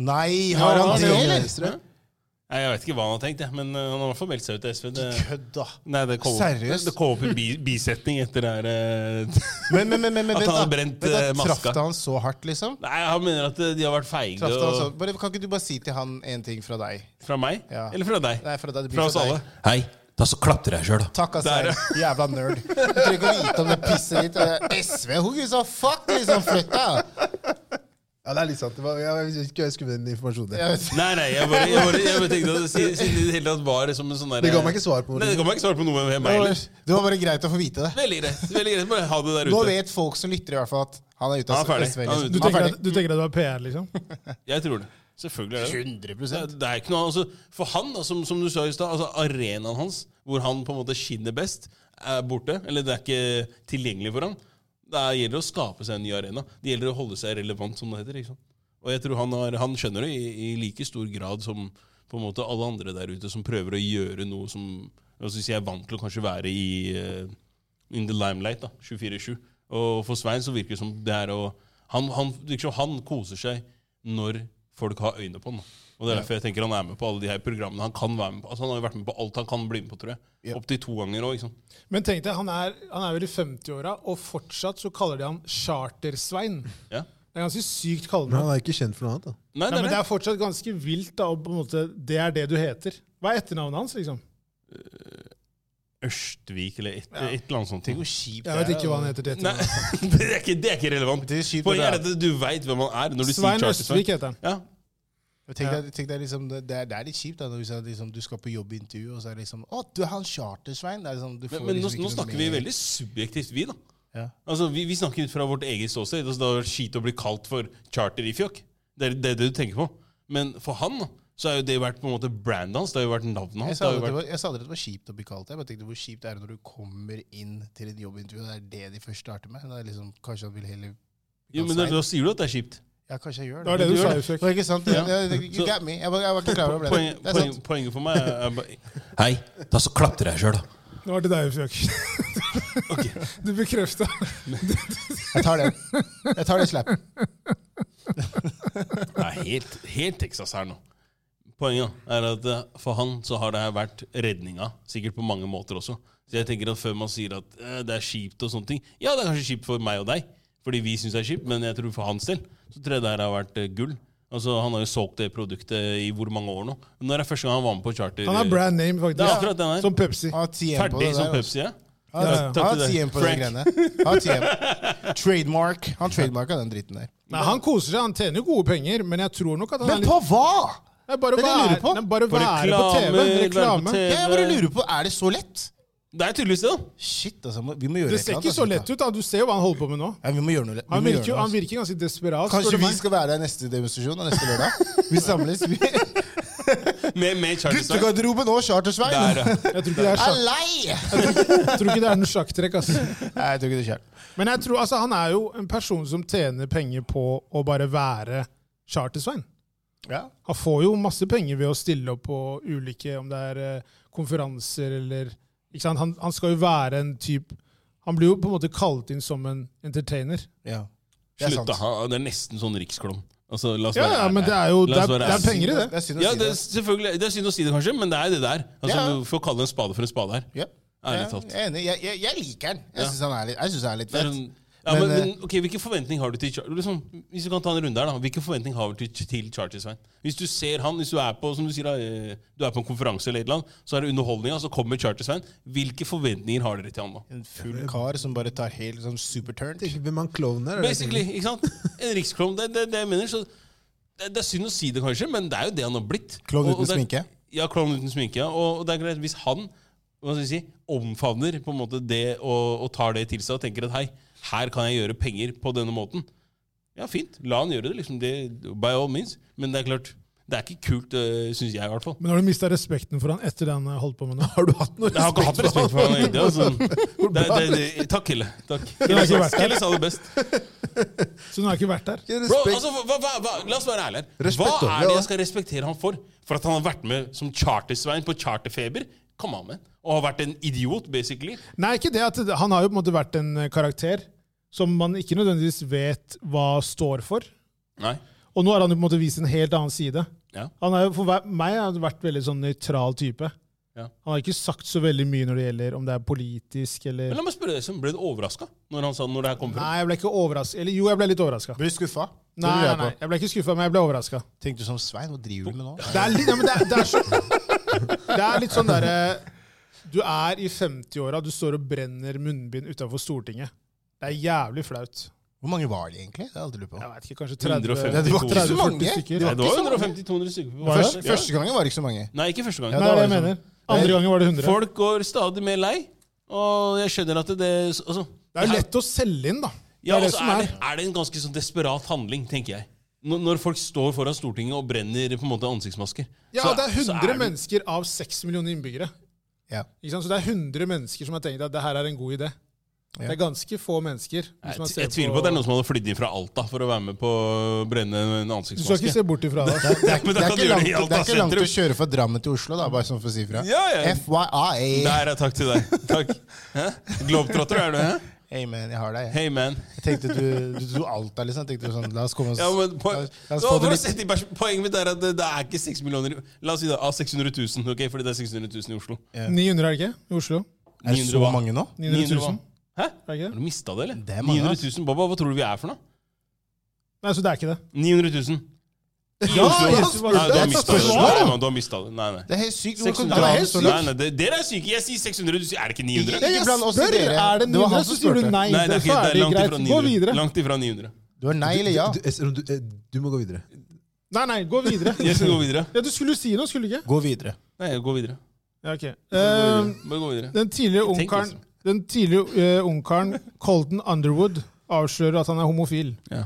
Nei, har han det, eller? Venstre. Nei, Jeg vet ikke hva han har tenkt, jeg, men eh, han har i hvert fall meldt seg ut av SV. Det, Kødd, da. nei, det kom, Seriøst? Det kom opp i bi, bisetning etter det her eh, [laughs] Men, men, men, men, men At vent, han da. har brent, Vent da, eh, maska. Traff det han så hardt, liksom? Nei, han mener at eh, de har vært feige Traff det han så. og, Bare, kan ikke du bare si til han en ting fra deg? fra meg. Ja. Eller fra deg. Nei, fra deg, det blir Fra oss fra deg. alle. Hei, da så klapper jeg sjøl, da. Takk, Der, altså. Jævla nerd. Du trenger ikke å vite om det pisset ditt. og det er SV, who gives a fuck, liksom? Flytt deg! Ja, det er litt sant. Det var- Jeg vet ikke hva jeg skulle med den informasjonen. der. Jeg vet- Nei, nei, jeg bare, jeg bare, jeg bare tenkte at siden siden det i det hele tatt var som en sånn der Det ga meg ikke svar på Nei, det noe. ga meg ikke svar på noe med meg Det heller. var- Det var bare greit å få vite det. Veldig greit. veldig greit, Bare ha det der Nå ute. vet folk som lytter, i hvert fall at han er ute av Han er ferdig. SV. Han er Liksom. Du ute. Han tenker, er at, du tenker at det var PR, liksom? Jeg tror det. Selvfølgelig er det det. ferdig. Det 100 er- det er ikke noe, altså, For han, da, som, som du sa i stad, altså, arenaen hans, hvor han på en måte skinner best, er borte. Eller det er ikke tilgjengelig for han. Det er- gjelder å skape seg en ny arena. Det gjelder å holde seg relevant, som det heter. ikke sant? Og jeg tror han, har, han skjønner det i, i like stor grad som på en måte alle andre der ute som prøver å gjøre noe som altså, Hvis jeg er vant til å kanskje være i eh, in the limelight da, 24-7. Og for Svein så virker det som det er å han, han, liksom, han koser seg når folk har øyne på han. da. Og det er derfor jeg tenker han er med på alle de her programmene han kan være med på. Altså, han har jo vært med på alt han kan bli med på, tror jeg. Opptil to ganger òg. Men tenk deg, han er, han er vel i 50-åra, og fortsatt så kaller de han Charter-Svein. Ja. Det er ganske sykt Men kallenavn. han er ikke kjent for noe annet, da. Nei, Ja, men det er det det. er fortsatt ganske vilt, da. Og på en måte, det er det du heter. Hva er etternavnet hans, liksom? Ørstvik eller et, et eller annet sånt. Tenk hvor Jeg kjipt vet ikke hva han heter til Nei, etternavn. [laughs] det er ikke, det er ikke relevant. Det er kjipt, Poenget er det at du veit hvem han er. når du Svein sier Østvik heter han. Ja. Men Tenk deg, tenk deg liksom, det, er, det er litt kjipt da, når hvis jeg, liksom, du skal på jobbintervju, og så er det liksom Å, du er han Charter-Svein! Det er Liksom, du får Men, men nå, liksom ikke nå noe snakker vi mer. veldig subjektivt, vi, da. Ja. Altså, Vi, vi snakker ut fra vårt eget ståsted. Altså, det hadde vært skit å bli kalt for charter i fjokk. Det er det, er det du tenker på. Men for han da, så har jo det vært på en måte brandet hans. Det har jo vært navnet Jeg hans. sa, Det har jo aldri at det vært... var, jeg sa aldri at det var kjipt å bli kalt det. Jeg bare tenkte hvor kjipt det er når du kommer inn til et jobbintervju, og det er det de først starter med. Det er liksom, kanskje han vil heller Jo, men da, da sier du at det er kjipt. Ja, kanskje jeg gjør det. Det var det du Du sa, gjør Det Jusek. var ikke sant? Ja. Ja, You got me. Jeg var, jeg var ikke klar over det. Poenget, Det er poenget, sant. poenget for meg er, er bare Hei, ta så klapp til deg sjøl, da. Det var til deg, Jusek. [laughs] Du bekrefta. Jeg tar den. Jeg tar den slappen. Det er helt, helt Texas her nå. Poenget er at eh, for han så har det her vært redninga, sikkert på mange måter også. Så jeg tenker at Før man sier at eh, det er kjipt og sånne ting Ja, det er kanskje kjipt for meg og deg, fordi vi syns det er kjipt, men jeg tror for hans del så tror jeg det her har vært eh, gull. Altså, Han har jo solgt det produktet i hvor mange år nå? Når er første gang han var med på charter? Han har brand name, Det er faktisk. akkurat den her. Som Pepsi. Han har 10 på Ferdig det som der. altså. Pepsi, ja. Han Ja, ja. har- han har Takk til 10 på den deg. greiene. Han har 10 Trademark. Han trademarka den dritten der. Nei, Han koser seg, han tjener jo gode penger, men jeg tror nok at han Men er litt på hva?! Nei, bare Det er det jeg være- lurer på. Nei, Bare På være på TV. reklame. Reklame. Jeg Eh, bare lurer på, er det så lett? Det er tydeligvis det, da. Shit, altså. må- Vi må gjøre Det et ser eller ikke annet, så altså, lett gutta. ut. da. Du ser jo hva han holder på med nå. Ja, vi må gjøre noe lett. Vi Han må virker, gjøre jo- noe, han altså. virker ganske desperat. spør Kanskje du vi meg. skal være der neste demonstrasjon da, neste [laughs] lørdag? Vi samles. vi- Med, med charter Guttegarderoben og Chartersveien! Der, ja. Jeg tror ikke det er Jeg er sjakk- lei! jeg tror ikke det er noe sjakktrekk. ass. [laughs] Nei, jeg tror ikke det skjer. Men jeg tror, altså, han er jo en person som tjener penger på å bare være Charter-Svein. Ja. Han får jo masse penger ved å stille opp på ulike om det er eh, konferanser eller ikke sant? Han, han skal jo være en type Han blir jo på en måte kalt inn som en entertainer. ja. Det er Slutt, da. sant. Han- Det er nesten sånn riksklon. Altså, la oss Ja, være ja, men ærlige. det er jo det La er, oss være det er ærlige. penger i det. Det er synd å Ja, si det det. er, selvfølgelig, det er synd å si det, kanskje, men det er det der. Altså, Ja. Du får kalle en spade for en spade her. Ja. Ærlig Ja, talt. Jeg er enig. Jeg, jeg, jeg liker den. Jeg Ja. syns han er litt, jeg synes han er litt Det er fett. sånn, ja, men, Men, eh, men, ok, Hvilken forventning har du til Char- liksom, Hvis du kan ta en runde her da Hvilken forventning har du til, til Charter-Svein? Hvis du ser han, hvis du er på Som du sier da eh, Du er på en konferanse eller et eller annet, så er det underholdninga, så kommer Charter-Svein. Hvilke forventninger har dere til han da? En full kar som bare tar helt sånn superturn. Tenker Hvem han klovnen er? er det jeg Basically, ikke sant? En riksklovn. Det er det, det jeg mener. Så det, det er synd å si det, kanskje, men det er jo det han har blitt. Klovn Og- uten og det er- sminke? Ja, klovn uten sminke. ja. Og, og det er greit hvis han hva skal jeg si, omfavner på en måte det og, og tar det til seg og tenker at hei, her kan jeg gjøre penger på denne måten. Ja, fint. La han gjøre det, liksom. Det, by all means. Men det er klart, det er ikke kult, syns jeg i hvert fall. Men har du mista respekten for han etter det han har holdt på med nå? Har du hatt noe Jeg har ikke hatt respekt for han egentlig. Altså. Det, bra. det, det, takk, Kelle. Takk. har ikke Kelle, vært der. Kelle sa det best. Så nå har jeg ikke vært der. Bro, Respekt. altså, hva, hva, hva, la oss være ærlige her. Hva Respekt, da. er det Ja. jeg skal respektere ham for? For at han har vært med som chartersvein på charterfeber? Come on, man. Og har vært en idiot, basically. Nei, ikke det at det- Han har jo på en måte vært en eh, karakter som man ikke nødvendigvis vet hva står for. Nei. Og nå har han jo på en måte vist en helt annen side. Ja. Han er jo for hver- meg har han vært veldig sånn nøytral type. Ja. Han har ikke sagt så veldig mye når det gjelder om det er politisk Men eller la meg spørre deg, som ble du overraska når han sa når det her kom fra? Nei, jeg ble ikke overraska. Eller jo, jeg ble litt overraska. Blir du skuffa? Nei, nei, nei, jeg ble ikke skuffa, men jeg ble overraska. Tenkte du sånn Svein, hva driver du med nå? Det er litt, ja, men det er, det er, så, det er litt sånn derre Du er i 50-åra, du står og brenner munnbind utafor Stortinget. Det er jævlig flaut. Hvor mange var de egentlig? Det har jeg alltid lurt på. Jeg vet ikke, kanskje 30 150. Det var ikke så 30-40 mange. stykker. Nei, det var ikke 150-200 stykker. på Var det? Første, første gangen var det ikke så mange. Nei, ikke første gang. Nei, det er det jeg mener. Andre gangen var det 100. Folk går stadig mer lei, og jeg skjønner at det altså, Det er jo lett å selge inn, da. Det Ja, er det altså, som er, er. det, er det en ganske sånn desperat handling, tenker jeg. Når, når folk står foran Stortinget og brenner på en måte ansiktsmasker. Ja, så- det er så 100 det- mennesker av 6 millioner innbyggere. Ja. Ikke sant? Så det er 100 mennesker som har tenkt at det her er en god idé. Det er ganske få mennesker. Jeg, t- jeg tviler på at det er noen som hadde flydd inn fra Alta for å være med på å brenne en Du skal ikke ansiktsmaske. se bort ifra det. Det er, men da det, er kan ikke du gjøre langt, det i Alta det er ikke langt å sentrum. kjøre fra Drammen til Oslo, da, bare sånn for å si fra. Ja, ja. FYI. Der, ja. Takk til deg. Takk. Hæ? Globetrotter er du, hæ? Hey man, jeg har deg. jeg. Hey, man. Jeg tenkte du, du dro Alta, liksom. Jeg tenkte sånn, la oss komme oss Ja, men po la oss- la oss Nå, få det for å litt- sette i pers- Poenget mitt er at det, det er ikke 6 millioner La oss si det, av 600 000, ok? fordi det er 600 000 i Oslo. 900 er det ikke? I Oslo? Er det 900 så hva? mange nå? 900 000? Hæ? Er det ikke Har det? du mista det, eller? Det er mange, ass. 900 000, Baba, hva tror du vi er for noe? Nei, så det er ikke det. 900 000. Ja, Oslo? Jesus, hva- Nei, du har mista det. Svar, da. Nei, du har mistet det. Nei, nei. Det er helt sykt. Hvordan 600. kan du dra det er det helt så sykt. langt? Nei, nei, det- Dere er syke. Jeg sier 600, du sier er det ikke 900? Ikke Jeg blant oss spør, dere. er det Det var han 900, som så sier du spurte. nei. Nei, det er ikke det er ferdig, langt greit. ifra Gå 900. videre. Langt ifra 900. Du er nei eller ja? Du, Esrom, du, eh, du må gå videre. Nei, nei, gå videre. Jeg skal gå videre. Ja, du skulle si noe, skulle du ikke? Gå videre. Nei, jeg går videre. Ja, ok. Bare Ehm, gå videre. Den tidligere Tenk ungkaren liksom. Den tidligere eh, ungkaren Colton Underwood avslører at han er homofil. Ja.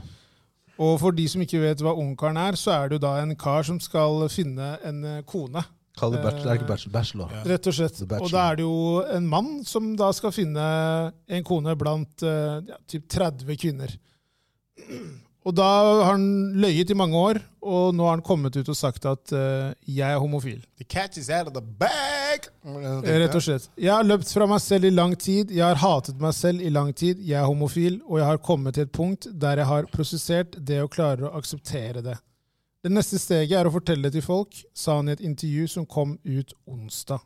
Og for de som ikke vet hva ungkaren er, så er det jo da en kar som skal finne en eh, kone. Kall det bachelor. Det er ikke bachelor. Bachelor. Rett og slett. The Bachelor. Og da er det jo en mann som da skal finne en kone blant eh, ja, typ 30 kvinner. Og da har han løyet i mange år, og nå har han kommet ut og sagt at eh, 'jeg er homofil'. The cat is out of the bag! Rett og slett. Jeg har løpt fra meg selv i lang tid. Jeg har hatet meg selv i lang tid. Jeg er homofil, og jeg har kommet til et punkt der jeg har prosessert det og klarer å akseptere det. Det neste steget er å fortelle det til folk, sa han i et intervju som kom ut onsdag.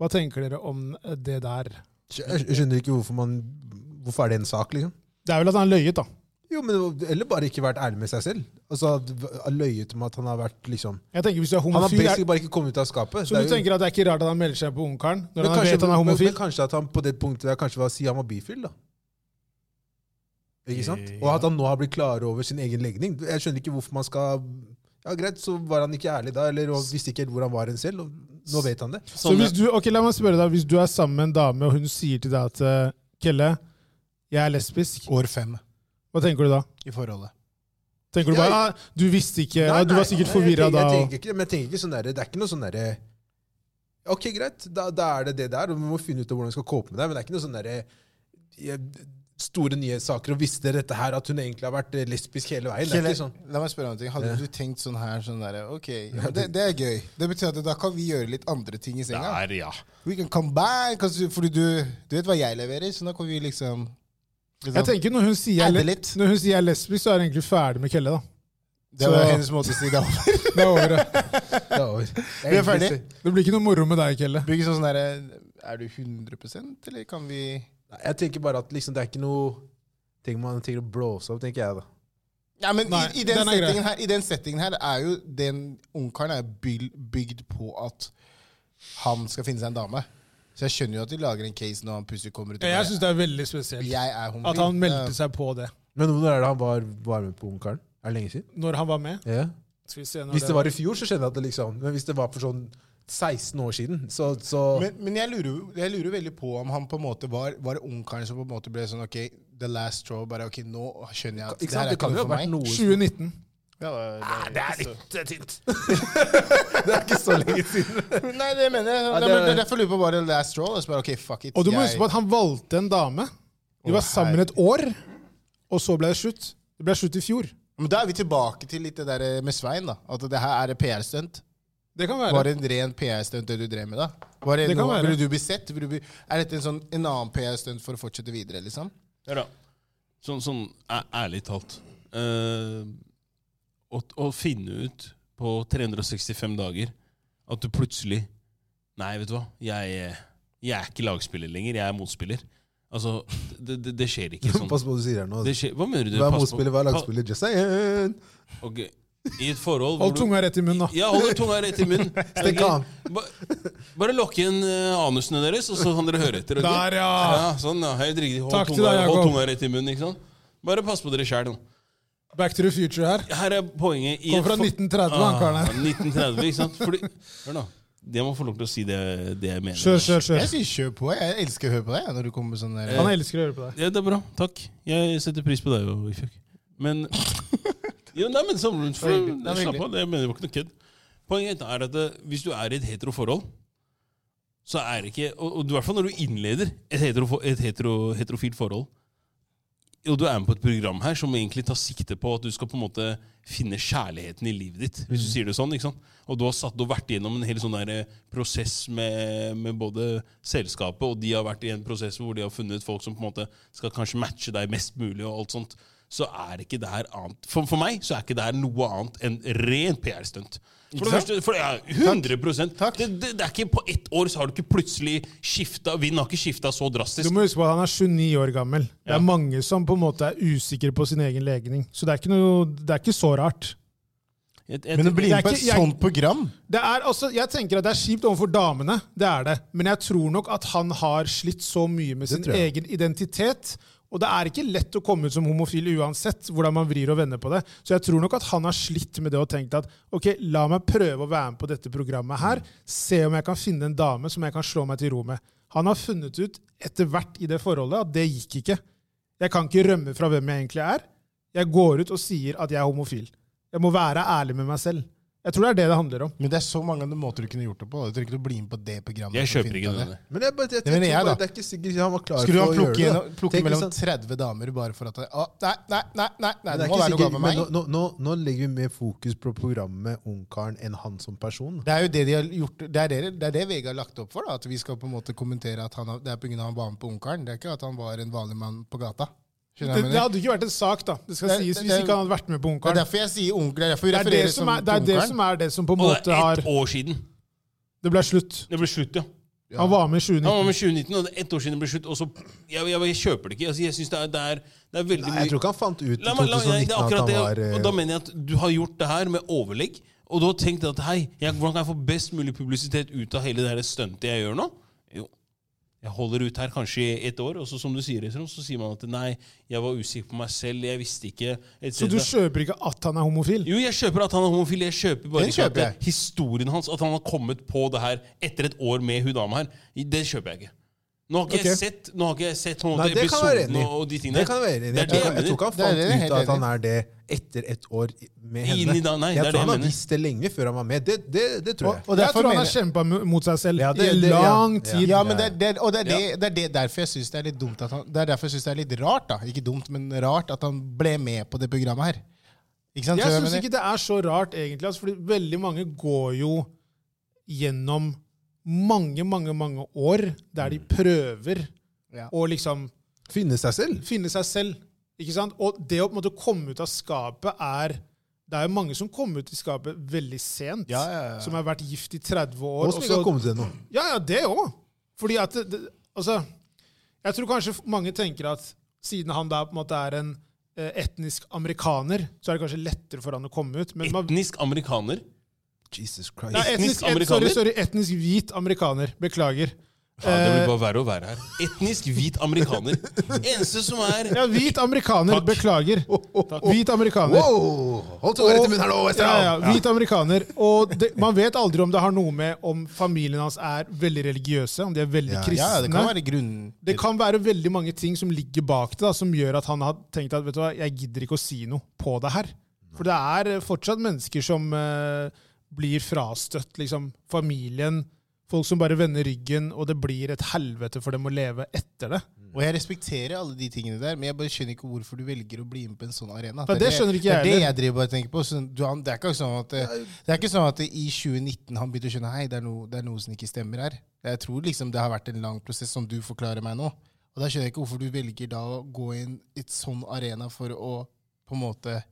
Hva tenker dere om det der? Jeg jeg skjønner ikke hvorfor man Hvorfor er det en sak, liksom? Det er vel at han løyet, da. Jo, men Eller bare ikke vært ærlig med seg selv. Altså, d- Løyet om at han har vært liksom Jeg tenker hvis du er Han har homofil, er, basically bare ikke kommet ut av skapet. Så Det er du jo- tenker at det er ikke rart at han melder seg på Ungkaren når Men han vet han er men, men homofil? kanskje at han på det punktet der kanskje var si han var bifil, da. Ikke sant? Og at han nå har blitt klar over sin egen legning. Jeg skjønner ikke hvorfor man skal Ja, Greit, så var han ikke ærlig da, eller og visste ikke helt hvor han var en selv. Og nå vet han det. Så Sånn, hvis du, ok, la meg spørre deg, hvis du er sammen med en dame, og hun sier til deg at eh, 'Kelle, jeg er lesbisk', År fem hva tenker du da? i forholdet. Tenker du Ja, bare ah, Du visste ikke Nei, ah, Du var nei, sikkert jeg forvirra tenker- da. Jeg og- tenker ikke, men jeg tenker ikke sånn der, Det er ikke noe sånn derre Ok, greit, da, da er det det der, og vi må finne ut av hvordan vi skal kåpe med det. Men det er ikke noe sånn derre jeg- Store nyhetssaker og visste dere dette her, at hun egentlig har vært eh, lesbisk hele veien. Det er ikke sånn. La meg spørre om en ting. Hadde du tenkt sånn her sånn der, Ok, ja, men det, det er gøy. Det betyr at da kan vi gjøre litt andre ting i senga. der, ja. We can come back, kanskje, fordi du, du vet hva jeg leverer, så da kan vi liksom Jeg tenker Når hun sier Adde jeg, litt. når hun sier jeg er lesbisk, så er hun egentlig ferdig med Kelle. da. Det var Så- hennes måte å si det over. Det er over. det. Det er over. Vi er ferdig. Det blir ikke noe moro med deg, Kelle. Bygge sånn derre Er du 100 eller kan vi Nei, Jeg tenker bare at liksom, det er ikke noe ting man trenger å blåse opp, tenker jeg da. Ja, men Nei, i, i, den den er grei. settingen her, I den settingen her er jo den ungkaren er byl- bygd på at han skal finne seg en dame. Så jeg skjønner jo at de lager en case når han plutselig kommer ut. og Ja, Jeg bare, syns det er veldig spesielt jeg er homofil. at han meldte Ja. seg på det Men når er det han var, var med på Ungkaren? Er det lenge siden? når han var med. Ja. Skal vi se når Hvis det var i fjor, så skjønner jeg at det liksom Men hvis det var for sånn 16 år siden, så, så Men, men jeg, lurer, jo- jeg lurer veldig på om han på en måte var Var det ungkaren som på en måte ble sånn OK, the last straw. Bare OK, nå skjønner jeg at Ikke det sant? her er Det ikke kan jo ha noe for vært meg. noe som- 2019. Ja, Ah, det, er eh, ikke så- Det er ikke så lenge siden. [laughs] Nei, det mener jeg. Ja, det, det er- er, derfor lurer jeg på bare the last straw. Og så bare OK, fuck it. Og du må jeg- huske på at han valgte en dame. De var Å, sammen et år, og så ble det slutt. Det ble slutt i fjor. Men da er vi tilbake til litt det der eh, med Svein. da At det her er et PR-stunt. Det kan Var være. det en ren PR-stunt det du drev med da? Var det Det kan noe, være. ville du bli sett? Ville du bli, er dette en, sånn, en annen PR-stunt for å fortsette videre, liksom? Hør da. Sånn, sånn æ- ærlig talt eh, å, å finne ut på 365 dager at du plutselig Nei, vet du hva. Jeg, jeg er ikke lagspiller lenger. Jeg er motspiller. Altså, det, det, det skjer ikke sånn. Pass på hva du sier her nå. Det skjer, hva mener du? Hva er Pass på- motspiller, hva er lagspiller? Just saying! Pa- ok. I et forhold hvor Hold du- tunga rett i munnen, da. Ja, holder tunga rett i munnen. Stikk Ok. av. Ba, bare lokke inn eh, anusene deres, og så kan dere høre etter. ok? Der, ja! Ja, sånn, ja. Helt riktig. Hold, Takk til tunga, deg, Jakob. hold tunga rett i munnen. ikke sant? Bare pass på dere sjæl. Back to the future her. Her er poenget i Kom fra et for- 1930, han karen her. Ah, 1930, ikke sant? Fordi, hør nå. Jeg må få lov til å si det, det jeg mener. Kjør, kjør, Jeg kjør. sier kjør på. Jeg elsker å høre på deg jeg, når du kommer med sånne der, Han elsker å høre på deg. Ja, det er bra. Takk. Jeg setter pris på deg, jo, Ifjok. [laughs] Men Jo, nei, men samle rundt. for- Det var hyggelig. Det var Slapp av. Det jeg mener det var ikke noe kødd. Poenget er at eh, hvis du er i et heteroforhold, så er det ikke Og, og i hvert fall når du innleder et, hetero, et hetero, heterofilt forhold, og du er med på et program her som egentlig tar sikte på at du skal på en måte finne kjærligheten i livet ditt. hvis du Mm. sier det sånn, ikke sant? Og du har, satt, du har vært gjennom en hel sånn der eh, prosess med, med både selskapet, og de har vært i en prosess hvor de har funnet folk som på en måte skal kanskje matche deg mest mulig. og alt sånt, så er ikke det her annet. For, for meg så er ikke det her noe annet enn ren PR-stunt. For det sant? første, for, ja, 100 Takk. Det, det, det er ikke På ett år så har du ikke plutselig skifta Vind har ikke skifta så drastisk. Du må huske på at han er 29 år gammel. Det Ja. er mange som på en måte er usikre på sin egen legning. Så det er ikke, noe, det er ikke så rart. Jeg, jeg, Men å det bli er med på et ikke- jeg- sånt program Det er altså, jeg tenker at det er kjipt overfor damene, det er det. Men jeg tror nok at han har slitt så mye med sin tror jeg. egen identitet. Og det er ikke lett å komme ut som homofil uansett hvordan man vrir og vender på det. Så jeg tror nok at han har slitt med det og tenkt at ok, la meg prøve å være med på dette programmet her. Se om jeg kan finne en dame som jeg kan slå meg til ro med. Han har funnet ut etter hvert i det forholdet at det gikk ikke. Jeg kan ikke rømme fra hvem jeg egentlig er. Jeg går ut og sier at jeg er homofil. Jeg må være ærlig med meg selv. Jeg tror det er det det handler om. Men det er så mange andre måter du kunne gjort det på. da. Du trenger ikke å bli med på det programmet. jeg for å kjøper finne ikke ut av denne. Men jeg, bare, jeg, Det tror mener jeg, bare da. det er ikke sikkert han var klar Skulle for han å plukke, gjøre det. gjennom- plukke Tenk hvis mellom han- 30 damer bare for at han- å, Nei, nei, nei, nei, nei, Men det er ikke det må være noe sikkert- galt med men meg. Nå, nå, nå, nå legger vi mer fokus på programmet Ungkaren enn han som person. Det er jo det de har gjort, det er det, det, er det VG har lagt opp for. da, At vi skal på en måte kommentere at han, har- det er pga. han var med på Ungkaren. Det er ikke at han var en vanlig mann på gata. Skjønner Det, du hva jeg det mener? hadde ikke vært en sak, da. Det skal Det- sies det- Hvis det- ikke han hadde vært med på Det er Ungkaren. derfor jeg sier onkel. Det er derfor vi Det er det refererer som som, er det, er det, til som Ungkaren. er det som på en Og det måte er har ett år siden Det ble slutt. det ble slutt, ja. Han var med i Han var 2019. med 2019, og det er ett år siden det ble slutt. Og så, jeg, jeg, jeg kjøper det ikke. Altså, jeg synes det, er, det, er, det er veldig Nei, mye jeg tror ikke han fant ut i La meg- la- nei, 2019 det er at akkurat han det, var eh, Og da mener jeg at du har gjort det her med overlegg, og du har tenkt at hei, jeg, hvordan kan jeg få best mulig publisitet ut av hele det her stuntet jeg gjør nå? Jo, jeg holder ut her kanskje i et år, og så som du sier, Trond, så sier man at nei, jeg var usikker på meg selv, jeg visste ikke et Så du kjøper ikke at han er homofil? jo, jeg kjøper at han er homofil. Jeg kjøper bare Den ikke at kjøper jeg. det- historien hans, at han har kommet på det her etter et år med hun dama her, det kjøper jeg ikke. Nå har ikke jeg Ok. sett, nå har ikke jeg sett på en Nei, måte, det kan jeg være episoden enig i. og, og de tingene. Det kan jeg være enig i. Det Jeg er det tror jeg jeg tror mener. ikke han fant Det er det jeg er ut av helt at enig i. han er det etter et år i- med Inni henne. da- nei, det er jeg det tror han jeg har mener. visst det lenge før han var med. Det, det, det tror jeg. og jeg derfor tror han mener har jeg- kjempa mot seg selv Ja, det- i det- ja. lang Ja. tid. Ja, men det, er- det, er- og det er, det, det er det derfor jeg syns det er litt dumt at han, Det er derfor jeg synes det er litt rart, da. Ikke dumt, men rart at han ble med på det programmet her. Ikke sant? Jeg Skjønner du hva syns mener? ikke det er så rart, egentlig. Altså, fordi veldig mange går jo gjennom mange, mange, mange år der de prøver Ja. å liksom Finne seg selv. finne seg selv. Ikke sant? Og det å på en måte komme ut av skapet er Det er jo mange som kom ut i skapet veldig sent. Ja, ja, ja. Som har vært gift i 30 år. Og som ikke og så- har kommet til det nå. ja, ja, det òg. Fordi at det, det, Altså, jeg tror kanskje mange tenker at siden han da på en måte er en eh, etnisk amerikaner, så er det kanskje lettere for han å komme ut. Men man, Etnisk amerikaner. Jesus Nei, Christ. etnisk, etnisk et, sorry, amerikaner? sorry, etnisk hvit amerikaner. Beklager. Ja, det blir bare verre og verre her. Etnisk hvit amerikaner. Eneste som er Ja, hvit amerikaner. Beklager. Hvit amerikaner. Wow! Hold tunga rett i munnen her nå, Ja, Westerdal! ja, hvit amerikaner. Og det, man vet aldri om det har noe med om familien hans er veldig religiøse, om de er veldig Ja, ja, det kristne. Ja, det kan være grunnen. Det kan være veldig mange ting som ligger bak det, da, som gjør at han har tenkt at vet du hva, jeg gidder ikke å si noe på det her. For det er eh, fortsatt mennesker som eh, blir frastøtt. liksom Familien, folk som bare vender ryggen, og det blir et helvete for dem å leve etter det. Mm. Og jeg respekterer alle de tingene der, men jeg bare skjønner ikke hvorfor du velger å bli med på en sånn arena. Ja, det skjønner ikke jeg det, er det heller. jeg driver bare og tenker på. Så du, han, det, er ikke sånn at, eh, det er ikke sånn at i 2019 han begynte å skjønne hei, det er, noe- det er noe som ikke stemmer her. Jeg tror liksom det har vært en lang prosess, som du forklarer meg nå. Og da skjønner jeg ikke hvorfor du velger da å gå inn i et sånn arena for å på en måte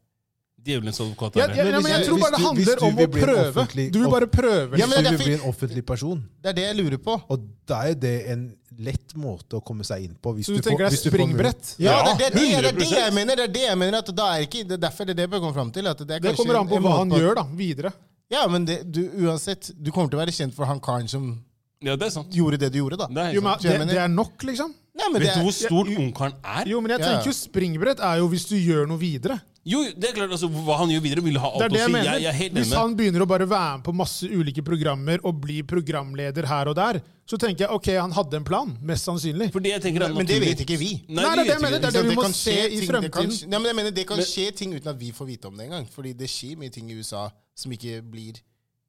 djevelens advokat. Jeg, her. jeg, Men jeg, hvis men jeg jeg- tror bare det hvis du- hvis handler du om å vil bli en prøve. offentlig- Du vil bare prøve. Ja, liksom. men det Du er vil derfor- bli en offentlig person. Det er det jeg lurer på. Og da er det en lett måte å komme seg inn på. Hvis Så du får- tenker det hvis er du får mulighet. springbrett? Ja, Ja, det, er det, det, er det 100%. jeg mener. Det er det jeg mener at da er ikke, det er derfor det er det jeg bør komme fram til. At det, er Det kanskje kommer an på en hva måte han at- gjør da, videre. Ja, men det, du, uansett, du kommer til å være kjent for han karen som Ja, det er sant. gjorde det du gjorde, da. Det er Jo, helt men sant. Så jeg det, mener- det er nok, liksom. Nei, Vet men det du er- hvor stort ungkaren er? Jo, men jeg Ja, ja. tenker jo springbrett er jo hvis du gjør noe videre. Jo, det er klart, altså, Hva han gjør videre, vil ha Det alt er det jeg å si. mener. Jeg, jeg er helt Hvis enig. han begynner å bare være med på masse ulike programmer og bli programleder her og der, så tenker jeg ok, han hadde en plan, mest sannsynlig. For det jeg tenker er Men det naturlig. vet ikke vi. Nei, Nei, det det er det jeg vet mener, ikke det er vi. det vi Det må kan se skje i ting- det kan skje- fremtiden. Nei, men jeg mener, det kan skje ting uten at vi får vite om det engang. Fordi det skjer mye ting i USA som ikke blir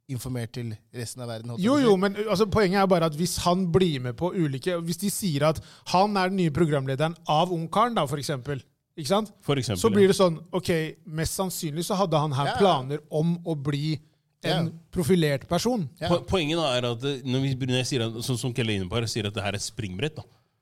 informert til resten av verden. holdt jeg Jo, på å si. jo, men altså, poenget er bare at hvis han blir med på ulike Hvis de sier at han er den nye programlederen av Ungkaren, da, for eksempel, ikke sant? For eksempel, så blir det sånn Ok, mest sannsynlig så hadde han her Ja. planer om å bli en Ja. profilert person. Ja. Po- Poenget da er at eh, når, vi, når jeg sier at, sånn som Kelle er inne på her, sier at det her er et springbrett, da,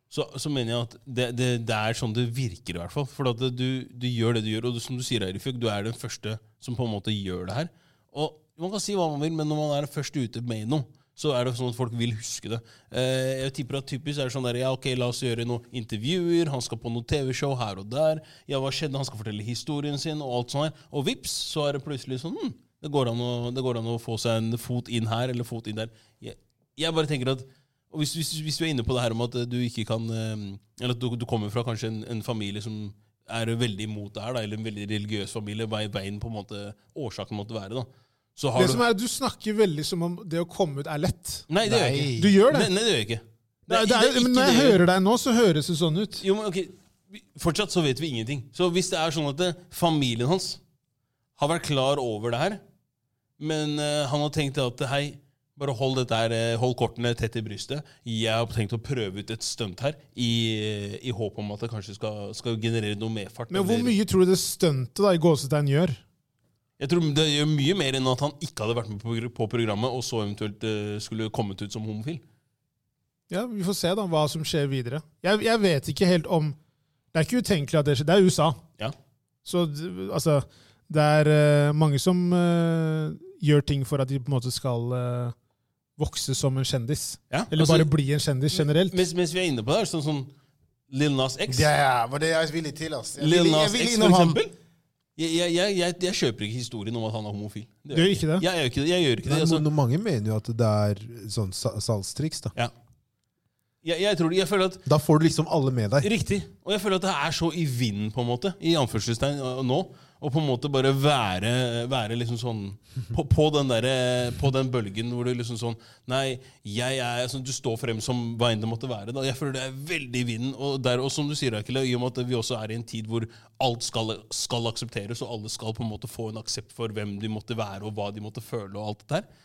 så, så mener jeg at det, det, det er sånn det virker, i hvert fall. For at du, du gjør det du gjør, og du, som du sier, Eirifjøk, du er den første som på en måte gjør det her. Og Man kan si hva man vil, men når man er først ute med noe, så er det sånn at folk vil huske det. Eh, jeg tipper at typisk er det sånn der, ja, ok, la oss gjøre noen intervjuer, han skal på noen TV-show her og der, ja, hva skjedde, han skal fortelle historien sin, og alt sånt her. Og vips, så er det plutselig sånn, hm, Det går, an å, det går an å få seg en fot inn her eller fot inn der. Jeg, jeg bare tenker at og hvis, hvis, hvis du er inne på det her om at eh, du ikke kan eh, Eller at du, du kommer fra kanskje en, en familie som er veldig imot det her, da, eller en veldig religiøs familie, hva er veien på en måte årsaken måtte være, da. Så har Det du som er, Du snakker veldig som om det å komme ut er lett. Nei, det gjør jeg Nei. ikke. Du gjør Nei, det. nei, det gjør jeg ikke. Det er, det det er, ikke men når jeg det gjør. hører deg nå, så høres det sånn ut. Jo, men ok, vi- Fortsatt så vet vi ingenting. Så hvis det er sånn at eh, familien hans har vært klar over det her, men eh, han har tenkt at hei, bare hold, dette her, eh, hold kortene tett i brystet. Jeg har tenkt å prøve ut et stunt her, i, i håp om at det kanskje skal, skal generere noe medfart. Men hvor eller- mye tror du det stuntet da, i gåsetegn gjør? Jeg tror det gjør mye mer enn at han ikke hadde vært med på, på programmet, og så eventuelt eh, skulle kommet ut som homofil. Ja, Vi får se da, hva som skjer videre. Jeg, jeg vet ikke helt om Det er ikke utenkelig at det skjer. Det er USA. Ja. Så d- altså Det er eh, mange som eh, gjør ting for at de på en måte skal eh, vokse som en kjendis. Ja, Eller altså- bare bli en kjendis generelt. Mens, mens vi er inne på det her, sånn som Lil Nas X. Det er- var det jeg er villig til, ass. Jeg Lil vil- jeg Nas vil X, innom for han. eksempel. Jeg, jeg, jeg, jeg, jeg kjøper ikke historien om at han er homofil. Det Du gjør ikke det? Jeg, gjør ikke det. Jeg, gjør ikke det. Nei, Altså, men mange mener jo at det er sånn sa- salgstriks. Da ja. jeg, jeg tror det. Jeg føler at Da får du liksom alle med deg. Riktig. Og jeg føler at det er så i vinden, på en måte, i anførselstegn øh, nå. Og på en måte bare være, være liksom sånn på, på, den derre- på den bølgen hvor du liksom sånn Nei, jeg er sånn, Du står frem som hva enn det måtte være. Da. Jeg føler det er veldig i vinden. Og, der, og som du sier, Akile, i og med at vi også er i en tid hvor alt skal, skal aksepteres, og alle skal på en måte få en aksept for hvem de måtte være, og hva de måtte føle, og alt det der.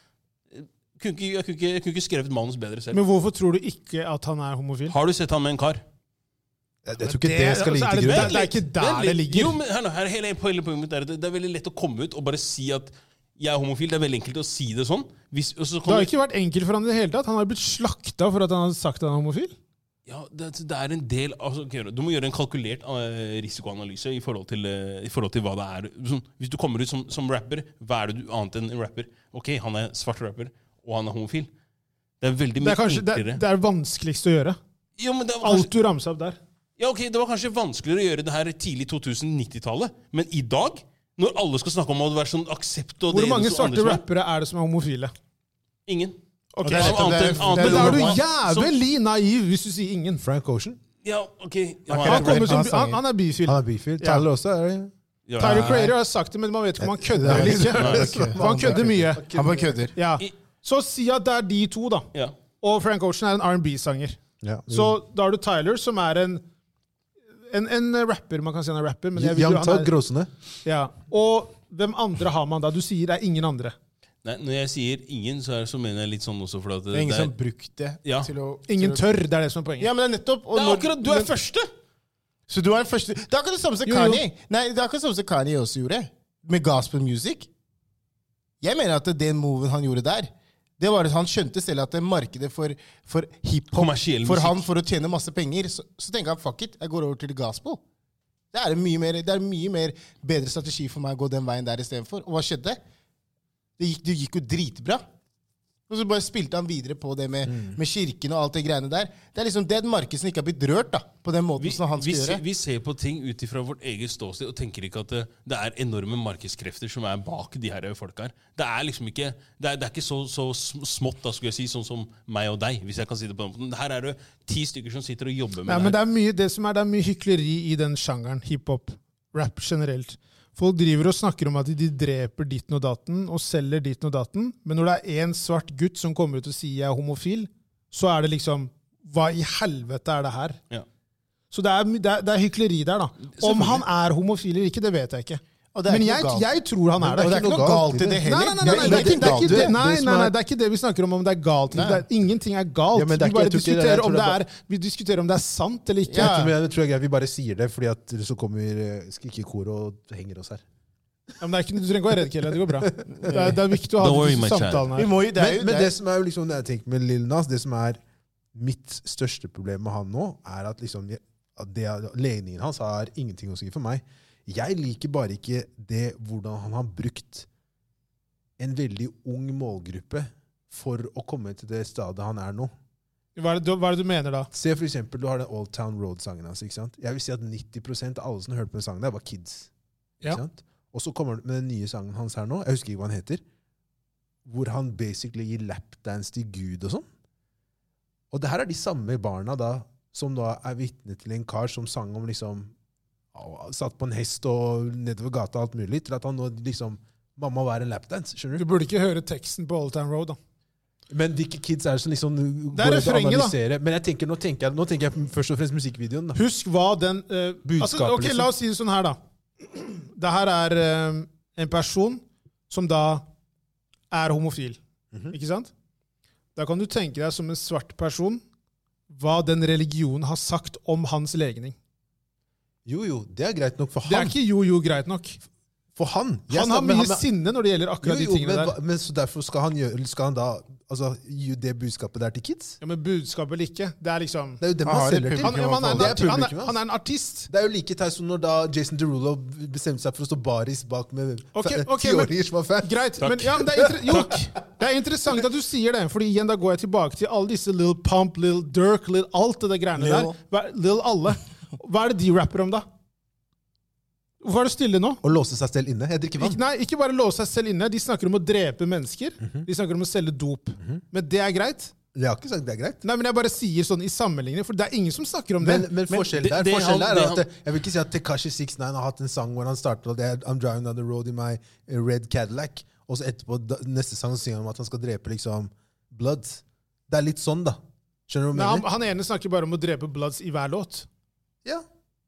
Eh, Kunne ikke, jeg, kunne ikke, jeg kunne ikke skrevet manus bedre selv. Men hvorfor tror du ikke at han er homofil? Har du sett han med en kar? Jeg, jeg tror ikke det skal ligge altså, er til det- grunn. det er ikke der Vent litt. det ligger. Jo, men her, nå, her, hele poenget poenget mitt er at det det er veldig lett å komme ut og bare si at jeg er homofil. Det er veldig enkelt å si det sånn. Hvis, og så Det kommer, har ikke vært enkelt for han i det hele tatt. Han har jo blitt slakta for at han har sagt at han er homofil. ja, det, det er en del altså, ok, Du må gjøre en kalkulert eh, risikoanalyse i forhold, til, eh, i forhold til hva det er. Sånn, hvis du kommer ut som, som rapper, hva er det du annet enn en rapper? Ok, han er svart rapper, og han er homofil. Det er veldig Det mye er kanskje det, enklere. det er vanskeligst å gjøre. jo, men det var kanskje, Alt du ramsa opp der. Ja, ok, Det var kanskje vanskeligere å gjøre det her tidlig 2090-tallet, men i dag, når alle skal snakke om å være sånn aksept og det Hvor ene mange som andre svarte som er- rappere er det som er homofile? Ingen. Og det er nettopp Annet det- enn- annet det Men da er du nummer one. jævlig naiv hvis du sier ingen. Frank Ocean. Ja, ok. Ja, Han, ja, kommer som, Han er han, han er bifil. Han er bifil. Tyler også er det. ja. Tyler Creator har sagt det, men man vet ikke om han kødder eller [laughs] ikke. For han kødder mye. Han bare kødder. Ja. Så si at det er de to, da. Ja. Og Frank Ocean er en R&B-sanger. Ja. Så da har du Tyler, som er en en, en rapper, man kan si han er rapper. Men jeg vil, jo- Young han Tug er, Gråsene. ja. Og hvem andre har man da? Du sier det er ingen andre. Nei, når jeg sier ingen, så, er, så mener jeg litt sånn også fordi at Det er ingen det som har brukt det Ja. til å Ingen til å- tør, det er det som er poenget. Ja, men det er nettopp og Det er når- akkurat Du er men- første! Så du er den første Det er akkurat det samme som Jo, jo. Kanye. Nei, det er akkurat det samme som Kanye også gjorde, med gospel music. Jeg mener at den moven han gjorde der, det var at han skjønte selv at det markedet for, for hiphop Kommersiell For musikk. han for å tjene masse penger, så, så tenker han fuck it, jeg går over til gospel. Det er en mye mer, det er en mye mer bedre strategi for meg å gå den veien der istedenfor. Og hva skjedde? Det gikk, det gikk jo dritbra. Og så bare spilte han videre på det med, Mm. med kirken og alt det greiene der. Det er liksom det er et marked som ikke har blitt rørt da, på den måten Vi, som han vi, skal ser, gjøre. vi ser på ting ut ifra vårt eget ståsted og tenker ikke at det, det er enorme markedskrefter som er bak de her folka her. Det er liksom ikke Det er, det er ikke så, så sm- smått, da, skulle jeg si, sånn som meg og deg, hvis jeg kan si det på den måten. Her er det ti stykker som sitter og jobber med Nei, det men her. det er mye, det som er, det er mye hykleri i den sjangeren, hiphop, rap generelt. Folk driver og snakker om at de dreper ditten og datten og selger ditten og datten, men når det er én svart gutt som kommer ut og sier jeg er homofil, så er det liksom Hva i helvete er det her? Ja. Så det er, my- det er, det er hykleri der, da. Om han er homofil eller ikke, det vet jeg ikke. Og det er Men ikke jeg, noe galt. jeg tror han er Og det er ikke noe galt i det Nei, heller. nei, nei, nei, nei, det, er ikke, det, er ikke det, nei, nei, nei, det er ikke det vi snakker om, om det er galt. Nei. Det er, ingenting er galt. Ja, men det er vi ikke- bare jeg tror ikke det- jeg diskuterer om tror det er det er Vi diskuterer om det er sant eller ikke. Ja. Men jeg tror det er greit vi bare sier det, fordi at så kommer eh, skrikekoret og henger oss her. Ja, men det er ikke, du trenger ikke være redd, Kelle. Det går bra. Det er, det er viktig å ha Don't worry, disse my child. samtalene Vi her. må jo, det er jo, Men, men det er- det som er jo liksom, når jeg tenker med Lil Nas, det som er mitt største problem med han nå, er at liksom jeg- at det, legningen hans har ingenting å si for meg. Jeg liker bare ikke det hvordan han har brukt en veldig ung målgruppe for å komme til det stadiet han er nå. Hva er, det, du- hva er det du mener da? Se for eksempel, du har den Old Town Road-sangen hans. ikke sant? Jeg vil si at 90 av alle som hørte på den sangen, der var kids. Ja. Ikke sant? Og så kommer han med den nye sangen hans her nå, jeg husker ikke hva han heter, hvor han basically gir lapdance til Gud og sånn. Og det her er de samme barna da, som da er vitne til en kar som sang om liksom ja, Satt på en hest og nedover gata og alt mulig, til at han nå liksom Mamma var en lapdance, skjønner Du du? burde ikke høre teksten på Old Town Road, da. Men hvilke kids er det som liksom Det er går ut og refrenget, da. analyserer? Men jeg tenker, nå, tenker jeg, nå tenker jeg først og fremst musikkvideoen. da. Husk hva den eh, Budskapet, altså, Ok, liksom. La oss si det sånn her, da. [clears throat] Det her er eh, en person som da er homofil. Ikke sant? Da kan du tenke deg som en svart person hva den religionen har sagt om hans legning. Jo, jo, det er greit nok for Det er han. ikke jo jo greit nok. For han! Jeg Han har snakker- men mye er- sinne når det gjelder Jo, akkurat de jo, men, tingene der. hva- men så derfor skal han, gjøre, eller skal han da altså, gi det budskapet der til kids? Ja, Men budskapet eller ikke, det er liksom Det er jo dem Han han har et selger til. han, ja, men han, er, en det arti- er han, er, publikum. hans. han er en artist. Det er jo like teit som når da Jason Derulo bestemte seg for å stå baris bak med fa- Ok, ok, men- tiåringer som var fan. Greit. Men, ja, men det, er inter- jo, det er interessant at du sier det, Fordi igjen da går jeg tilbake til alle disse Lil Pump, Lil Dirk, Lil alt det der greiene Lil. der. Hva, Lil alle. Hva er det de rapper om, da? Hvorfor er du stille nå? Å låse seg selv inne. Jeg drikker Ikke, vann. nei, ikke bare låse seg selv inne. De snakker om å drepe mennesker. Mhm. De snakker om å selge dop. Men det er greit. Jeg har ikke sagt det er greit. Nei, men jeg bare sier sånn i sammenligning, for det er ingen som snakker om Men, det. men forskjellen det- der det forskjellen han- der det er at han- det- Jeg vil ikke si at Tekashi 69 har hatt en sang hvor han starter og det er I'm driving down the road in my eh, red Cadillac, og så etterpå da, neste sang så synger han om at han skal drepe liksom Bloods. Det er litt sånn, da. Skjønner du hva Nei, jeg han, mener? han ene snakker bare om å drepe Bloods i hver låt. Ja,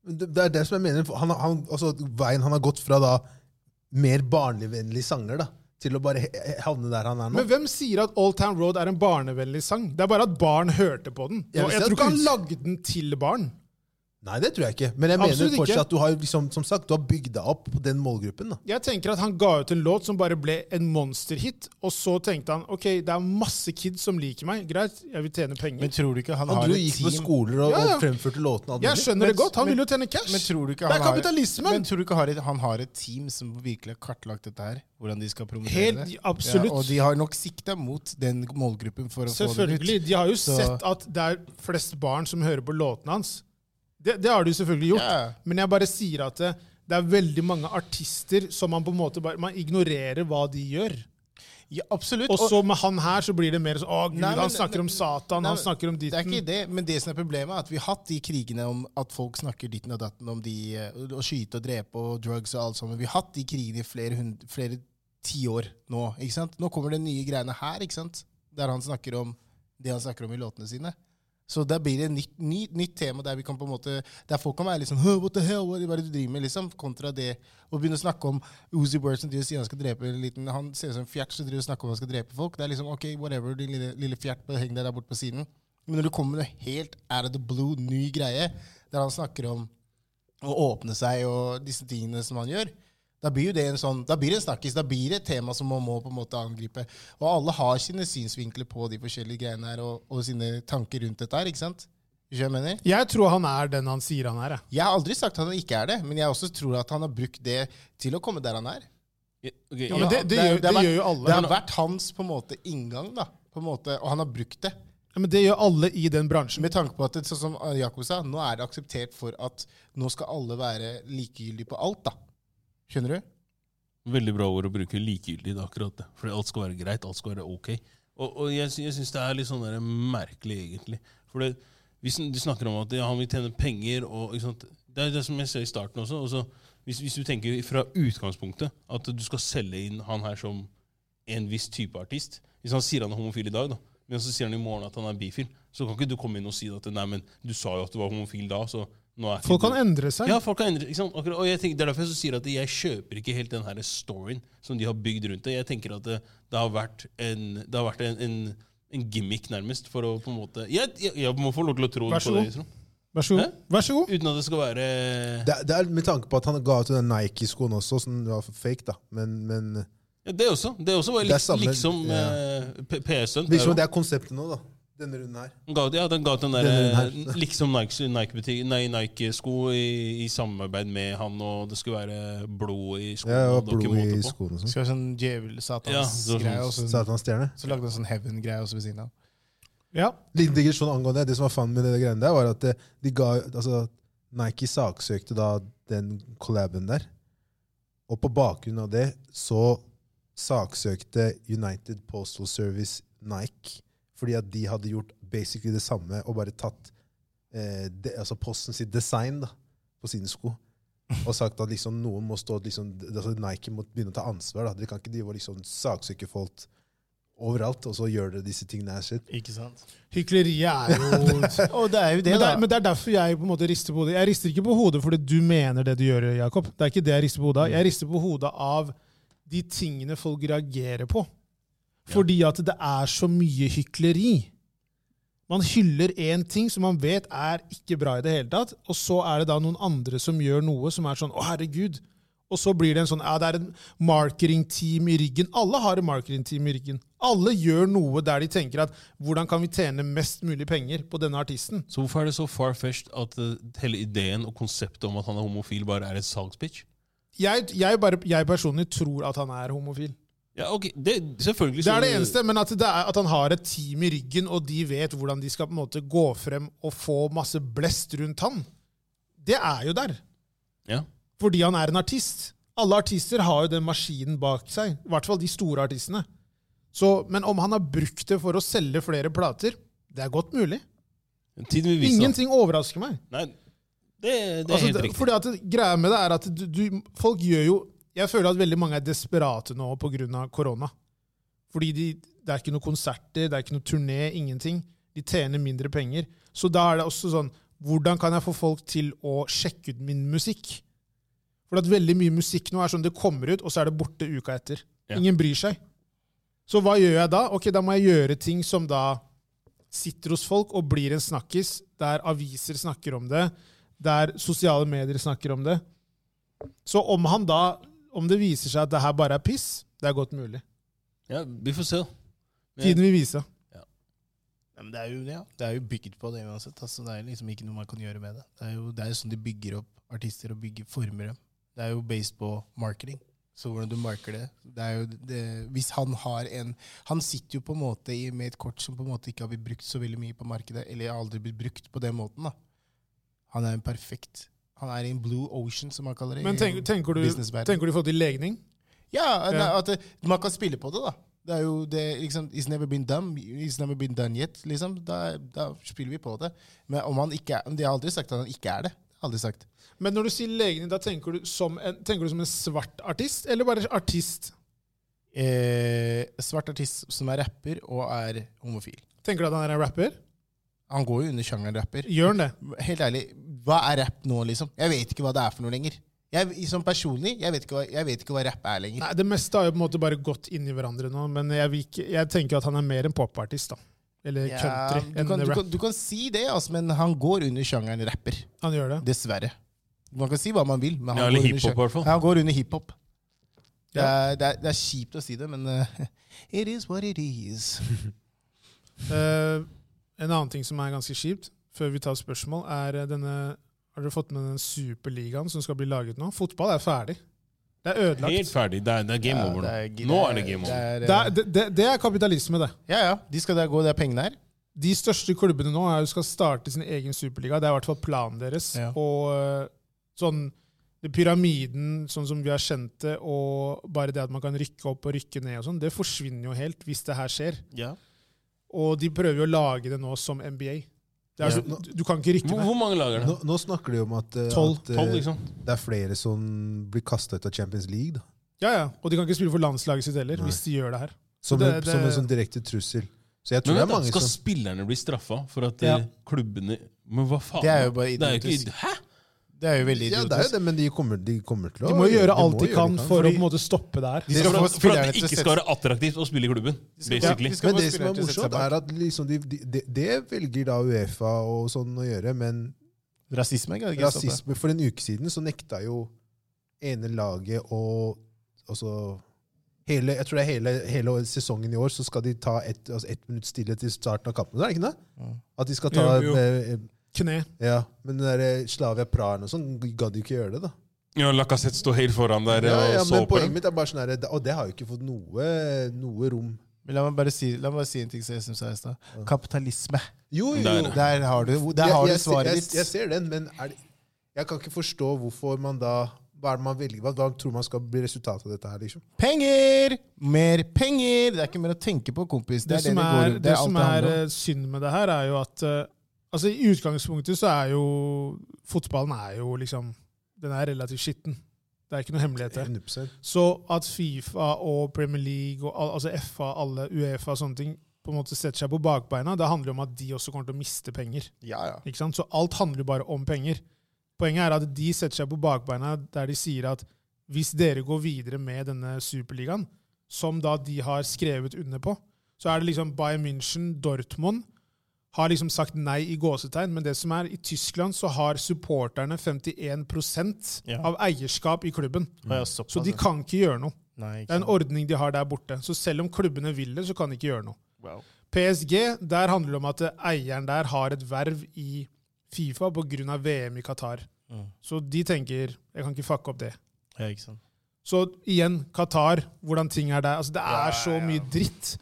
men det, det er det som jeg mener. for Han, han, altså, veien han har gått fra da mer barnevennlige sanger da, til å bare he- he- havne der han er nå. Men hvem sier at Old Town Road er en barnevennlig sang? Det er bare at barn hørte på den. Jeg vil Og jeg si at tror ikke han buds- lagde den til barn. Nei, det tror jeg ikke. Men jeg Absolutt mener ikke. fortsatt at du har liksom, som sagt, du har bygd deg opp på den målgruppen. da. Jeg tenker at han ga ut en låt som bare ble en monsterhit, og så tenkte han ok, det er masse kids som liker meg, greit, jeg vil tjene Men penger. tror du ikke han, Han har dro, et gikk på team skoler og, Ja, ja. og fremførte låtene. og alt Jeg mulig. skjønner det Men- godt, han men- vil jo tjene cash. Men tror du ikke det han er har- kapitalismen! Men tror du ikke har et, han har et team som virkelig har kartlagt dette her? Hvordan de skal promotere Helt det? absolutt. Ja, og de har nok sikta mot den målgruppen for å Selvfølgelig. få det ut. De har jo Så- sett at det er flest barn som hører på låtene hans. Det, det har de jo selvfølgelig gjort. Ja. Men jeg bare sier at det, det er veldig mange artister som man på en måte bare Man ignorerer hva de gjør. Ja, absolutt. Og så med han her så blir det mer sånn Å, Gud, Nei, men- han snakker om Satan, Nei, han snakker om det er ditten. ikke det, men det som er problemet, er at vi har hatt de krigene om at folk snakker ditten og datten om de eh, å skyte og drepe og drugs og alt sammen. Vi har hatt de krigene i flere, hund- flere tiår nå. ikke sant? Nå kommer det nye greiene her, ikke sant? der han snakker om det han snakker om i låtene sine. Så der blir det et nytt, ny, nytt tema der vi kan på en måte, der folk kan være liksom «Huh, What the hell? Hva er det du driver med? liksom, Kontra det å begynne å snakke om Uzi Bird som driver og sier han skal drepe en liten Han ser ut som en fjert som driver og snakker om han skal drepe folk. Det er liksom OK, whatever, din lille, lille fjert, bare heng deg der borte på siden. Men når du kommer med noe helt out of the blue, ny greie, der han snakker om å åpne seg og disse tingene som han gjør, da blir jo det en sånn, da blir det en snakkis, da blir det et tema som man må på en måte angripe. Og alle har sine synsvinkler på de forskjellige greiene her, og, og sine tanker rundt dette her, ikke sant? Skjønner du hva jeg mener? Jeg tror han er den han sier han er. jeg. Jeg har aldri sagt at han ikke er det, men jeg også tror at han har brukt det til å komme der han er. Ja, ok, Ja, men ja, det, det, er- gjør, det har gjør jo vært- Det alle. har vært hans på en måte inngang, da. På en måte, og han har brukt det. Ja, men det gjør alle i den bransjen. Med tanke på at, det, sånn som Jakob sa, nå er det akseptert for at nå skal alle være likegyldige på alt, da. Skjønner du? Veldig bra ord å bruke likegyldig. Det, er akkurat det. Fordi alt skal være greit, alt skal være ok. Og, og jeg, sy- jeg syns det er litt sånn der merkelig, egentlig. For det, vi, sn- de snakker om at ja, han vil tjene penger og ikke sant? Det er det som jeg ser i starten også. også hvis, hvis du tenker fra utgangspunktet at du skal selge inn han her som en viss type artist Hvis han sier han er homofil i dag, da, men så sier han i morgen at han er bifil, så kan ikke du komme inn og si at nei, men du sa jo at du var homofil da, så nå er ikke Folk du- kan endre seg. ja, folk har endret ikke sant? Akkurat, og jeg tenker, Det er derfor jeg så sier at jeg kjøper ikke helt den her storyen som de har bygd rundt det. Jeg tenker at det, det har vært, en, det har vært en, en, en gimmick, nærmest, for å på en måte Jeg, jeg, jeg må få lov til å tro Vær så på det, god. liksom. Vær så god. Hæ? Vær så god. uten at det skal være Det, er- det er Med tanke på at han ga ut den Nike-skoen også, som var fake, da. Men, men ja, Det også. Det også var Det er liks, samme- liksom ja. eh, P- PS-stunt. virker som det er konseptet nå, da. Denne runden her. Den ga, ut- ja, den ga ut den der, Denne eh, runden her. liksom Nike-sko Nike nei, Nike i, i samarbeid med han, og det skulle være blod i skoene. Ja, og og det var ikke blod i måte på. skoene og sånn. Skal være sånn Ja, det var sånn- djevel-satans-greie, og så, Satanstjerne. så lagde han sånn heaven-greie også ved siden av. Ja. Liten digresjon angående det. Det som var fun med det greiene der, var at eh, de ga, altså, Nike saksøkte da den collaben der. Og på bakgrunn av det så saksøkte United Postal Service Nike fordi at de hadde gjort basically det samme og bare tatt eh, de, altså posten sitt design da, på sine sko. Og sagt at liksom noen må stå, liksom, altså Nike må begynne å ta ansvar. Da. Dere kan ikke drive og liksom saksøke folk overalt, og så gjør dere disse tingene her. Shit. Ikke sant? [laughs] Hykleriet er jo Og det er jo men, det, det da. er, men det er derfor jeg på en måte rister på hodet. Jeg rister ikke på hodet fordi du mener det du gjør, Jakob. Det er ikke det jeg rister på hodet av. Jeg rister på hodet av de tingene folk reagerer på. Fordi at det er så mye hykleri. Man hyller én ting som man vet er ikke bra i det hele tatt, og så er det da noen andre som gjør noe som er sånn 'Å, herregud'. Og så blir det en sånn ja, det er en marketingteam i ryggen. Alle har et marketingteam i ryggen. Alle gjør noe der de tenker at 'hvordan kan vi tjene mest mulig penger på denne artisten'? Så hvorfor er det så far-fetched at eh, hele ideen og konseptet om at han er homofil, bare er et salgspitch? jeg, jeg, bare, jeg personlig tror at han er homofil. Ja, ok, det, selvfølgelig Det er så- det eneste, men at, det er, at han har et team i ryggen, og de vet hvordan de skal på en måte gå frem og få masse blest rundt han. Det er jo der. Ja. Fordi han er en artist. Alle artister har jo den maskinen bak seg. I hvert fall de store artistene. Så, men om han har brukt det for å selge flere plater, det er godt mulig. Tiden vil vise. da. Ingenting overrasker meg. Nei, det, det er Altså, helt det- riktig. fordi at det- Greia med det er at du, du, folk gjør jo Jeg føler at veldig mange er desperate nå pga. korona. Fordi de, det er ikke noen konserter, det er ikke noen turné, ingenting. De tjener mindre penger. Så da er det også sånn Hvordan kan jeg få folk til å sjekke ut min musikk? For at veldig mye musikk nå er sånn det kommer ut, og så er det borte uka etter. Ja. Ingen bryr seg. Så hva gjør jeg da? Ok, da må jeg gjøre ting som da sitter hos folk og blir en snakkis, der aviser snakker om det, der sosiale medier snakker om det. Så om han da, om det viser seg at det her bare er piss, det er godt mulig. Ja, vi får se. da. Tiden vil vise. Ja, Men det er jo det, ja. Det er jo bygget på det uansett. Altså, det er liksom ikke noe man kan gjøre med det. Det er jo det er jo sånn de bygger opp artister og bygger former dem. Det er jo based på marketing. Så hvordan du marker det, det er jo det, Hvis han har en Han sitter jo på en måte i, med et kort som på en måte ikke har blitt brukt så veldig mye på markedet, eller har aldri blitt brukt på den måten. da. Han er en perfekt Han er i en blue ocean, som man kaller det. Men i tenk, tenker du businessverden. tenker du i forhold til legning? Ja, Ja. nei, at det, man kan spille på det, da. Det er jo det, liksom, It's never been done, it's never been done yet. liksom. Da, da spiller vi på det. Men om han ikke er, De har aldri sagt at han ikke er det. Aldri sagt. Men når du sier legning, da tenker du som en, tenker du som en svart artist, eller bare artist? Eh, svart artist som er rapper og er homofil. Tenker du at han er en rapper? Han går jo under sjangeren rapper. Gjør han det? Helt ærlig, hva er rap nå, liksom? Jeg vet ikke hva det er for noe lenger. Jeg, som personlig, jeg vet, ikke hva, jeg vet ikke hva rap er lenger. Nei, Det meste har jo på en måte bare gått inn i hverandre nå, men jeg, vil ikke- jeg tenker jo at han er mer en popartist, da. Eller Ja, country. du, kan, enn du, rap. kan, du kan si det, altså, men han går under sjangeren rapper. Han gjør det. Dessverre. Man kan si hva man vil, men han, Ja, eller går, under, hiphop, i hvert fall. sjø- han går under hiphop. Det, Ja. er- det, er- det er kjipt å si det, men eh, [laughs] it is what it is. Eh, en annen ting som er ganske kjipt, før vi tar spørsmål, er eh, denne Har dere fått med den superligaen som skal bli laget nå? Fotball er ferdig. Det er Helt ødelagt. ferdig. Det er, det er game over nå. nå er det game over. er, eh, Det er, det, det, det er kapitalisme, det. ja, ja. De skal da gå der pengene er. De største klubbene nå er, jo skal starte sin egen superliga. Det er i hvert fall planen deres. Ja. Og eh, sånn det Pyramiden, sånn som vi har kjent det, og bare det at man kan rykke opp og rykke ned, og sånn, det forsvinner jo helt hvis det her skjer. Og de prøver jo å lage det nå som NBA. Det er, Ja. så, du, du kan ikke rykke Hvor, ned. hvor mange lager det? Nå, nå snakker de om at, eh, Tolv. at eh, Tolv, liksom? det er flere som blir kasta ut av Champions League. Da. Ja, ja. Og de kan ikke spille for landslaget sitt heller, Nei. hvis de gjør det her. Som, det- en, det- som en sånn direkte trussel. Så jeg tror Men det vent er da, mange Skal som spillerne bli straffa for at Ja. eh, klubbene Men hva faen? Det er jo bare Det er jo idiotisk. ikke, hæ? Det er jo veldig Ja, idiotisk. det er jo det, men de kommer, de kommer til å De må jo gjøre må alt de gjøre kan for å Fordi- på en måte stoppe det her. De For skal få at, for spillerne at det til å ikke sette skal være attraktivt å spille i klubben. skal- Basically. ja, de skal- Men få det som spillere er til å sette seg morsomt, bak. er at liksom de, de, de, det velger da Uefa og sånn å gjøre, men Rasisme kan ikke stoppe. rasisme For en uke siden så nekta jo ene laget og altså hele, Jeg tror det er hele, hele sesongen i år så skal de ta ett altså ett minutt stillhet i starten av kampen. Er det ikke det? At de skal ta Jo, jo. eh, eh, Kne. Ja, men den der eh, Slavia Praha og sånn gadd jo ikke gjøre det, da. Ja, Lacassette står helt foran der eh, Ja, ja, og så men på poenget dem. mitt er bare sånn her Og det har jo ikke fått noe, noe rom. Men la meg bare si, la meg bare si en ting som jeg syns er i stad. Kapitalisme. Jo, jo, jo. Der. Der har du, der Jeg- har du jeg, ser- svaret jeg, ditt. Jeg ser den, men er det, jeg kan ikke forstå hvorfor man da Hva er det man velger? Hva, hva tror man skal bli resultatet av dette her, liksom? Penger! Mer penger! Det er ikke mer å tenke på, kompis. Det, Det er det som det er, går det Det er alt som det er handler om. eh, synd med det her, er jo at eh, altså I utgangspunktet så er jo fotballen er jo liksom Den er relativt skitten. Det er ikke noe hemmelighet der. 100%. Så at Fifa og Premier League og al- altså FA, alle Uefa og sånne ting på en måte setter seg på bakbeina, det handler jo om at de også kommer til å miste penger. Ja, ja. Ikke sant? Så alt handler jo bare om penger. Poenget er at de setter seg på bakbeina der de sier at hvis dere går videre med denne superligaen, som da de har skrevet under på, så er det liksom Bayern München, Dortmund har liksom sagt nei i gåsetegn, men det som er, i Tyskland så har supporterne 51 Ja. av eierskap i klubben. Ja, såpass, Så de ja. Altså. kan ikke gjøre noe. Nei, Det ikke er en ordning de har der borte. Så selv om klubbene vil det, så kan de ikke gjøre noe. Wow. PSG, der handler det om at eieren der har et verv i Fifa pga. VM i Qatar. Mm. Så de tenker jeg kan ikke fucke opp det. Ja, ikke sant. Så igjen, Qatar, hvordan ting er der. Altså, det er så mye dritt.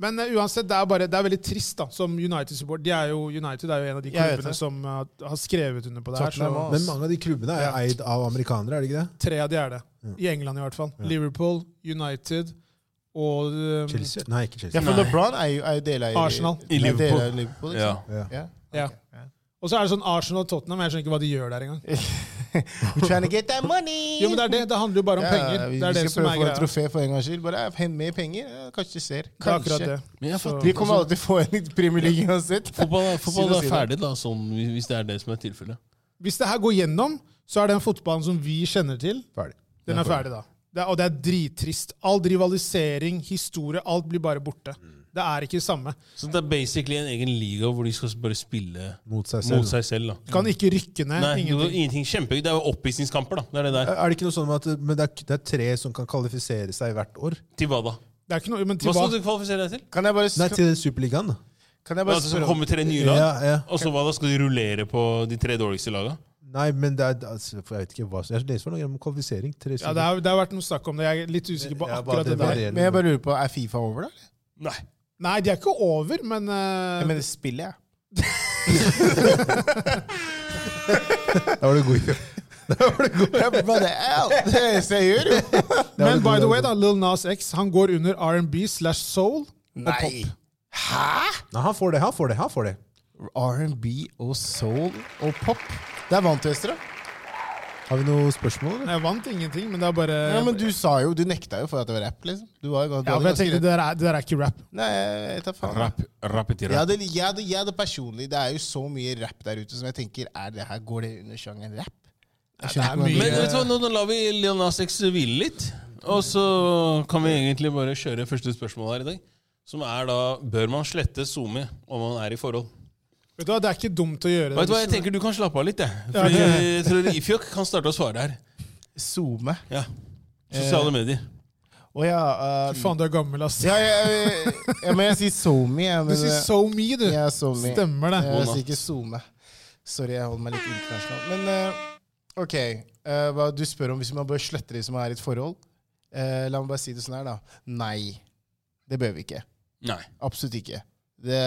Men eh, uansett, det er, bare, det er veldig trist, da, som United-support. De er jo, United er jo en av de Jeg vet klubbene det. som eh, har skrevet under på det her. Tottenham Så også. Men mange av de klubbene er jo eid av amerikanere, er det ikke det? tre av de er det. I England, i hvert fall. Liverpool, United og eh, Chelsea? Nei, ikke Chelsea. Mm. ja for LeBron er jo, er jo deleier Arsenal. I Nei, Liverpool. deleier i Liverpool ikke Ja. sant? Ja. Ja. Ja. Og så er det sånn Arsenal og Tottenham. Jeg skjønner ikke hva de gjør der engang. [laughs] We're trying to get that money! Jo, men Det er det Det handler jo bare om Ja, penger. vi, det er vi det skal som er prøve å få greia. et trofé for en gangs skyld. Bare eh, hend mer penger. Ja, kanskje det ser. Det er akkurat Kanskje. det. Men jeg fatter Vi kommer aldri til å få en i Premier League uansett. sånn Fotball, er- fotball Synd å er si ferdig, da, sånn, hvis- hvis det er det som er tilfellet. Hvis det her går gjennom, så er den fotballen som vi kjenner til, Ferdig. den er ferdig da. Det er, og det er drittrist. All rivalisering, historie, alt blir bare borte. Det er ikke det samme. Så det er basically en egen liga hvor de skal bare spille Mot seg selv. mot seg selv. da. Du Mm. kan ikke rykke ned. Nei, ingenting. ingenting. ingenting kjempegøy. Det er jo oppvisningskamper, da. Det er det der. Er det ikke noe sånn at men det, er, det er tre som kan kvalifisere seg hvert år? Til hva da? Det er ikke noe, men til Hva hva? skal du kvalifisere deg til? Kan jeg bare, Nei, kan, til Superligaen, da. kan jeg bare Altså, så spørre om- kommer tre nye lag, Ja, ja. og så hva da? Skal du rullere på de tre dårligste laga? Nei, men det er altså, for Jeg vet ikke hva som Jeg leser for noe om kvalifisering. Tre Ja, det, har, det har vært noe snakk om det. Jeg er litt usikker på Ja, bare akkurat det det der. varierer. Men jeg bare lurer på, er Fifa over, da? eller? Nei. Nei, de er ikke over, men eh, Jeg mener [laughs] spillet, jeg. Da var det god Ja, men det er alt. [laughs] Det er det jeg gjør, jo. Men by the way, da, Lil Nas X han går under R&B slash soul. Nei. Nei, han får det, han får det, han får det. R&B og soul og pop. Det er vant til, Ester. da. Har vi noe spørsmål? Eller? Jeg vant ingenting, men det er bare Ja, men du sa jo, du nekta jo for at det var rap, liksom. Du var jo godt, du Ja, for hadde jeg ganske tenkte, rett. det der er, det der er ikke rap. Nei, jeg tar faen. Rapp, rapp etter Jeg rapp. hadde, jeg, hadde, jeg hadde personlig Det er jo så mye rap der ute som jeg tenker er det her, Går det under sjangeren rap? det Jeg er skjønner ikke mye- hva Men jeg vet du hva, nå, nå lar vi Leon Nas X hvile litt, og så kan vi egentlig bare kjøre første spørsmål her i dag. Som er da Bør man slette SoMe om man er i forhold? Vet du hva, Det er ikke dumt å gjøre det. Vet du hva, Jeg hvis- tenker du kan slappe av litt, jeg. Fordi jeg tror Ifjok kan starte å svare her. mener. Zoome. Ja. Eh, Sosiale medier. Å ja. eh, Fy Faen, du er gammel, ass. ja, ja, ja, ja, men jeg sier SoMe. Jeg, Du men, eh, sier so me, du. jeg, er SoMe. Stemmer det. Eh, Jeg sier ikke SoMe. Sorry, jeg holder meg litt internasjonal. Men eh, ok, eh, hva du spør om hvis man bør slette de som er i et forhold? Eh, la meg bare si det sånn her, da. Nei. Det bør vi ikke. Nei. Absolutt ikke. Det,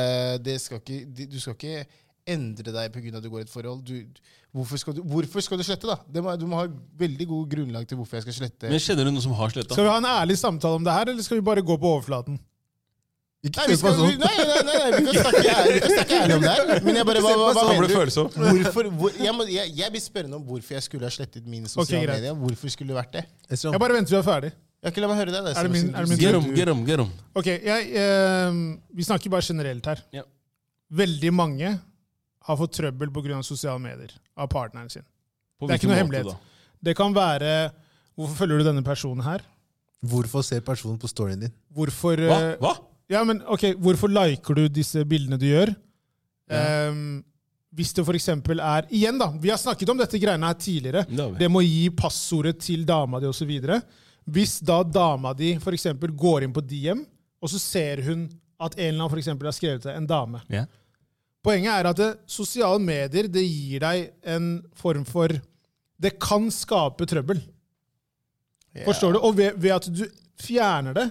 det skal ikke de- du skal ikke endre deg pga. at du går i et forhold. Du, du- hvorfor, skal du, hvorfor skal du slette, da? Det må, du må ha veldig god grunnlag til hvorfor jeg skal slette. Men kjenner du noen som har sletta? Skal vi ha en ærlig samtale om det her, eller skal vi bare gå på overflaten? Nei, vi skal, nei, nei, nei, nei, vi kan snakke ærlig, vi kan snakke ærlig om det her. Men jeg bare, hva, hva, sånn. hva mener du? Hvorfor, hvor, jeg, må, jeg, jeg blir spørrende om hvorfor jeg skulle ha slettet mine sosiale Ok, greit. medier. Hvorfor skulle det vært det? Esrom, Jeg bare venter til vi er ferdig. Jeg kan la meg høre det. da, Er det min- siden er det du- min Get siden om, du- get om, get om. Ok, jeg, eh, Vi snakker bare generelt her. Ja. Veldig mange har fått trøbbel pga. sosiale medier av partneren sin. På Det er ikke hvilken noe måte hemmelighet. da? Det kan være Hvorfor følger du denne personen her? Hvorfor ser personen på storyen din? Hvorfor Hva? eh, Hva? Ja, men ok, Hvorfor liker du disse bildene du gjør? Ehm, hvis det f.eks. er Igjen, da. Vi har snakket om dette greiene her tidligere. Det har vi. Det må gi passordet til dama di osv. Hvis da dama di for eksempel går inn på DM, og så ser hun at en eller annen for eksempel har skrevet til en dame Ja. Poenget er at det, sosiale medier det gir deg en form for Det kan skape trøbbel. Forstår du? Og ved, ved at du fjerner det,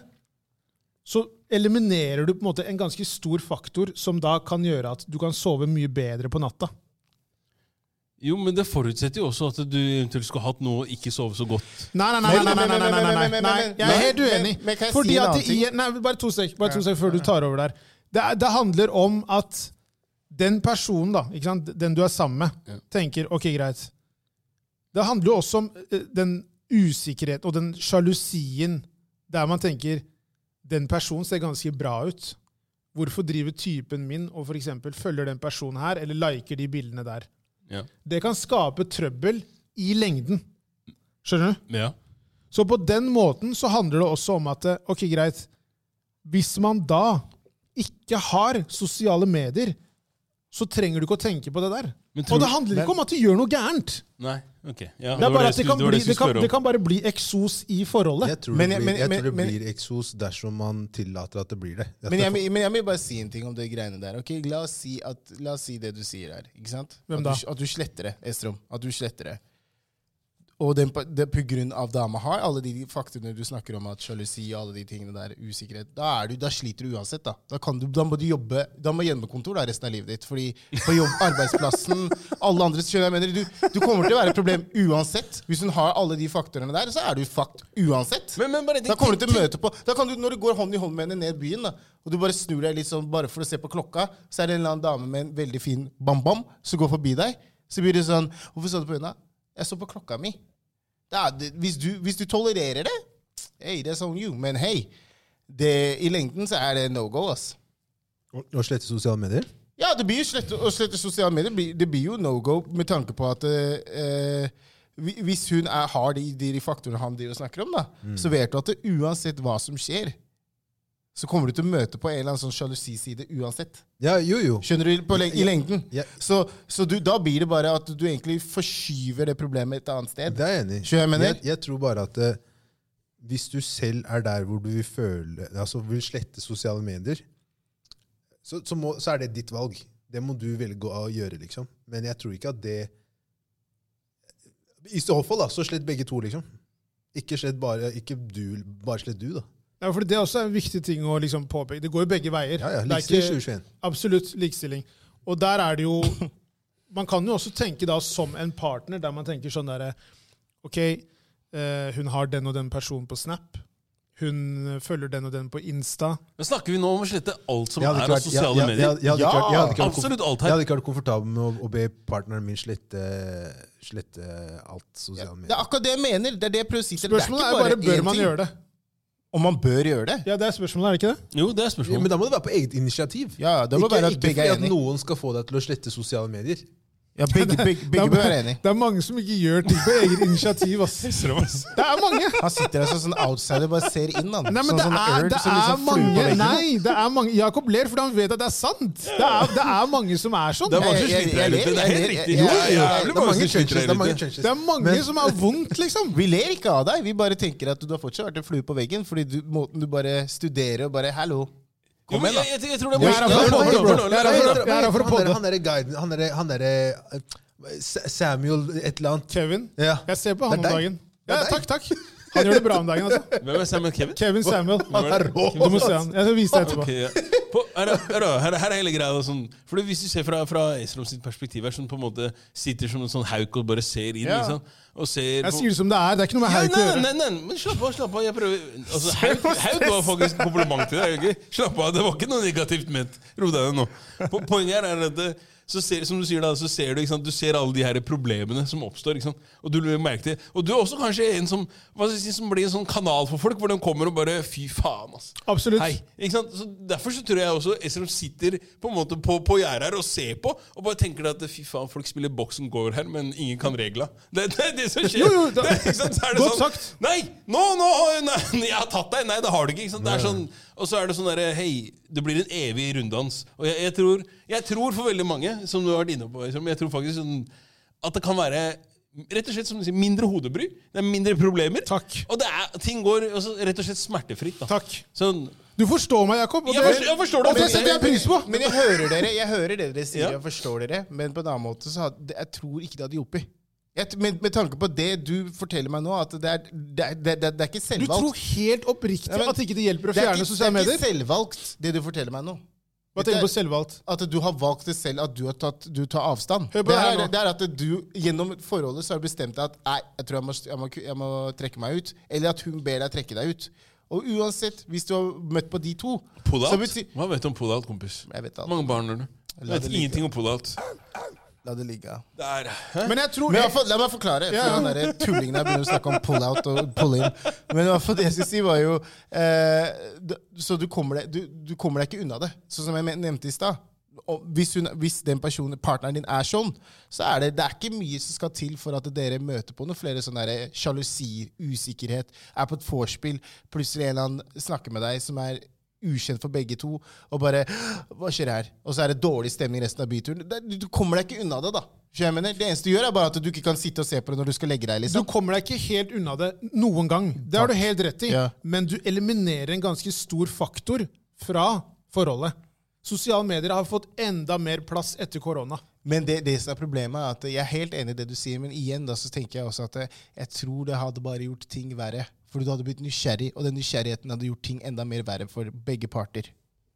så eliminerer du på en måte en ganske stor faktor som da kan gjøre at du kan sove mye bedre på natta. Jo, men det forutsetter jo også at du eventuelt skulle hatt noe og ikke sove så godt. Nei, nei, nei, nei, nei, nei, nei, nei, nei, nei. Jeg er helt uenig. Men- men kan jeg Fordi si en at annen det i, nei, bare to sek, bare to sek før du tar over der. Det, er- det handler om at den personen, da, ikke sant? den du er sammen med, tenker ok, greit. Det handler jo også om eh, den usikkerheten og den sjalusien der man tenker den personen ser ganske bra ut. Hvorfor driver typen min og for eksempel følger den personen her, eller liker de bildene der? Ja. Det kan skape trøbbel i lengden. Skjønner du? Ja. Så på den måten så handler det også om at eh, ok, greit, hvis man da ikke har sosiale medier, så trenger du ikke å tenke på det der. Men tror- Og det handler ikke om at du gjør noe gærent. Nei, ok. Ja, Det er bare at jeg det skulle- kan, var bli, jeg det skulle kan, spørre om. det kan bare bli eksos i Jeg forholdet. tror Men- det blir, men- jeg tror det men- blir eksos dersom man tillater at det blir det. At Men det jeg, men jeg vil bare si en ting om det greiene der. Ok, La oss si, at, la oss si det du sier her. ikke sant? Hvem At, du, at du sletter det, Estrom. At du sletter det. Og den, pa- det på grunn av dama har alle de faktorene du snakker om, at sjalusi og alle de tingene der, usikkerhet, da, er du, da sliter du uansett. Da Da, kan du, da må du jobbe, da må hjemmekontor da, resten av livet ditt. Fordi på jobb, [laughs] arbeidsplassen, alle andre skjønner jeg mener, du, du kommer til å være et problem uansett. Hvis hun har alle de faktorene der, så er du fucked uansett. Men- men bare en ting- da kommer du til å møte på Da kan du, Når du går hånd i hånd med henne ned byen, da, og du bare snur deg litt sånn bare for å se på klokka, så er det en eller annen dame med en veldig fin bam-bam som går forbi deg. Så blir det sånn Hvorfor så du på henne? Jeg så på klokka mi. Da, det, hvis, du, hvis du tolererer det, hey, that's on you. Men hei, det- i lengden så er det no go, ass. Å- Å slette sosiale medier? Ja, det blir jo slett, å slette sosiale medier blir- det blir jo no-go med tanke på at eh, eh, hvi- hvis hun er, har de, de faktorene han driver og snakker om, da, Mm. så vet du at det, uansett hva som skjer, så kommer du til å møte på en eller annen sånn sjalusiside uansett. Ja, jo, jo. Skjønner du? På leng I lengden. Ja. Så, så du, da blir det bare at du egentlig forskyver det problemet et annet sted. Det er jeg enig i. Skjønner jeg mener? Jeg, jeg tror bare at eh, hvis du selv er der hvor du vil føle Altså vil slette sosiale medier, så, så, må, så er det ditt valg. Det må du velge å gjøre, liksom. Men jeg tror ikke at det I så fall, da, så slett begge to, liksom. Ikke slett bare Ikke du, bare slett du, da. Ja, for Det er også en viktig ting å liksom påpeke. Det går jo begge veier. Ja, ja. Det er Likestilling ikke- 2021. Absolutt likestilling. Og der er det jo [laughs] Man kan jo også tenke da som en partner, der man tenker sånn derre Ok, eh, hun har den og den personen på Snap. Hun eh, følger den og den på Insta. Men snakker vi nå om å slette alt som Jeg er hadde av ikke vært- jeg- sosiale jeg- jeg- medier? jeg hadde ikke vært- jeg hadde ikke vært komfort- Absolutt alt Jeg her. hadde ikke vært komfortabel med å, å be partneren min slette, slette alt sosiale Det er medier. akkurat det jeg mener. Det er det jeg prøver å si til deg. Det Spørsmålet er bare bør én man ting. gjøre det. Om man bør gjøre det? Ja, det er spørsmålet, er det ikke det? Jo, det er Ja, spørsmålet. men da må det være på eget initiativ. Ja, ja, det må ikke være at ikke begge fordi er at enig. noen skal få deg til å slette sosiale medier. Ja, begge, begge, [laughs] begge bør være enig. Det er mange som ikke gjør ting på eget initiativ. [laughs] ass. Det er mange! Han sitter der som sånn outsider bare ser inn. Han. Nei, men Sånn- det sånn er, Erd det som er liksom fluer på mange veggen. Nei, det er mange Jakob ler fordi han vet at det er sant. Det er, det er mange som er sånn. Det er mange som Jeg- jeg- sliter jeg her ler, ute. Det er jeg helt ler, riktig. jeg- Jo, jeg- jo, jeg- jævlig Det er mange mange som sliter changes. her Det er mange ute. changes. Det er mange som har vondt, liksom. Vi ler ikke av deg, vi bare tenker at du har fortsatt vært en flue på veggen. Fordi du, måten du bare studerer og bare 'hallo'. Jo, Kom men igjen, da. jeg, jeg, jeg tror det er Jeg er her for å Nå er det podde, over bro. nå. Jeg er her for å- jeg er her for å podde. Han derre guiden Han derre han derre, eh, Sa- Samuel et eller annet. Kevin. Ja. Jeg ser på han om Det er deg. dagen. er Ja, deg. takk, takk. Han gjør det bra om dagen, altså. [laughs] Hvem er Samuel Kevin? Kevin Samuel. Han er rå! Du må se han. Jeg skal vise deg etterpå. Ok, ja. På, her, er- her, er- her, er- her er hele greia. da, Sånn, for Hvis du ser fra, fra Esrom sitt perspektiv, her, som på en måte sitter som en sånn hauk og bare ser inn Ja. ikke sant? og ser Jeg på- sier det som det er. Det er ikke noe med ja, Hauk å nei, gjøre. nei, nei, men slapp av, slapp av. Jeg prøver altså, Hauk, hauk var faktisk en kompliment til deg. Jørgen. Slapp av, det var ikke noe negativt ment. Ro deg ned nå. Po- Poenget her er at det- så ser, som du sier da, så ser du ikke sant, du ser alle de her problemene som oppstår. ikke sant? Og du legger merke til Og du er også kanskje en som hva skal jeg si, som blir en sånn kanal for folk, hvor de kommer og bare Fy faen, altså. ass. Absolutt. Hei. Ikke sant? Så Derfor så tror jeg også Esrom sitter på en måte på, på gjerdet her og ser på, og bare tenker at fy faen, folk spiller Boxen går her, men ingen kan regla. Det, det er det som skjer. Jo, jo, da- [laughs] det, er- ikke sant? Så er det Godt sånn, sagt. Nei! Nå, nå! Nei, [laughs] jeg har tatt deg! Nei, det har du ikke. ikke sant? Det er sånn, og så er det sånn derre Hei, det blir en evig runddans. Og jeg, jeg, tror, jeg tror for veldig mange, som du har vært inne på, liksom, jeg tror faktisk sånn, at det kan være Rett og slett, som du sier, mindre hodebry. Det er mindre problemer. Takk. Og det er, ting går altså, rett og slett smertefritt. da. Takk. Sånn, Du forstår meg, Jakob. Og Jeg forstår- jeg forstår deg, og det men- setter jeg pris på. Men jeg hører dere jeg hører det dere sier, Ja. jeg forstår dere. Men på en annen måte så hadde, jeg tror ikke det hadde hjulpet. Jeg t- Med, med tanke på det du forteller meg nå, at det er, det er, det er, det er ikke Du tror selvvalgt. helt oppriktig Nei, men- at ikke det hjelper å Det er fjerne ikke, det sosiale er ikke medier? selvvalgt, det du forteller meg nå. Bare tenk på selvvalgt. At du har valgt det selv, at du, har tatt, du tar avstand. Hør på det, det her er, nå. det er at du gjennom forholdet så har du bestemt deg at nei, jeg tror jeg må, jeg, må, jeg må trekke meg ut. Eller at hun ber deg trekke deg ut. Og uansett, hvis du har møtt på de to så Pull-out? betyr- Hva vet du om pull-out, kompis? Jeg vet alt. Mange barn har du. Jeg La vet det ligge. ingenting om pull-out. La det ligge. Det er Hæ? Men jeg tror Men i hvert fall, la meg forklare, før den der tullingen her begynner å snakke om pull-out og pull-in. Men i hvert fall det jeg skulle si, var jo eh, d- Så du kommer, deg, du, du kommer deg ikke unna det. Sånn som jeg men- nevnte i stad. Og Hvis, hun, hvis den personen, partneren din er sånn, så er det, det er ikke mye som skal til for at dere møter på noen flere sånne der sjalusier, usikkerhet, er på et vorspiel, plutselig en eller annen snakker med deg som er ukjent for begge to, og bare Hva skjer her? Og så er det dårlig stemning resten av byturen. Det, du kommer deg ikke unna det, da. Så jeg mener, det eneste du gjør, er bare at du ikke kan sitte og se på det når du skal legge deg. Du liksom. kommer deg ikke helt unna det noen gang. Det har du helt rett i. Ja. Men du eliminerer en ganske stor faktor fra forholdet. Sosiale medier har fått enda mer plass etter korona. Men det, det som er problemet, er at jeg er helt enig i det du sier, men igjen da, så tenker jeg også at eh, jeg tror det hadde bare gjort ting verre. For du hadde blitt nysgjerrig, og den nysgjerrigheten hadde gjort ting enda mer verre for begge parter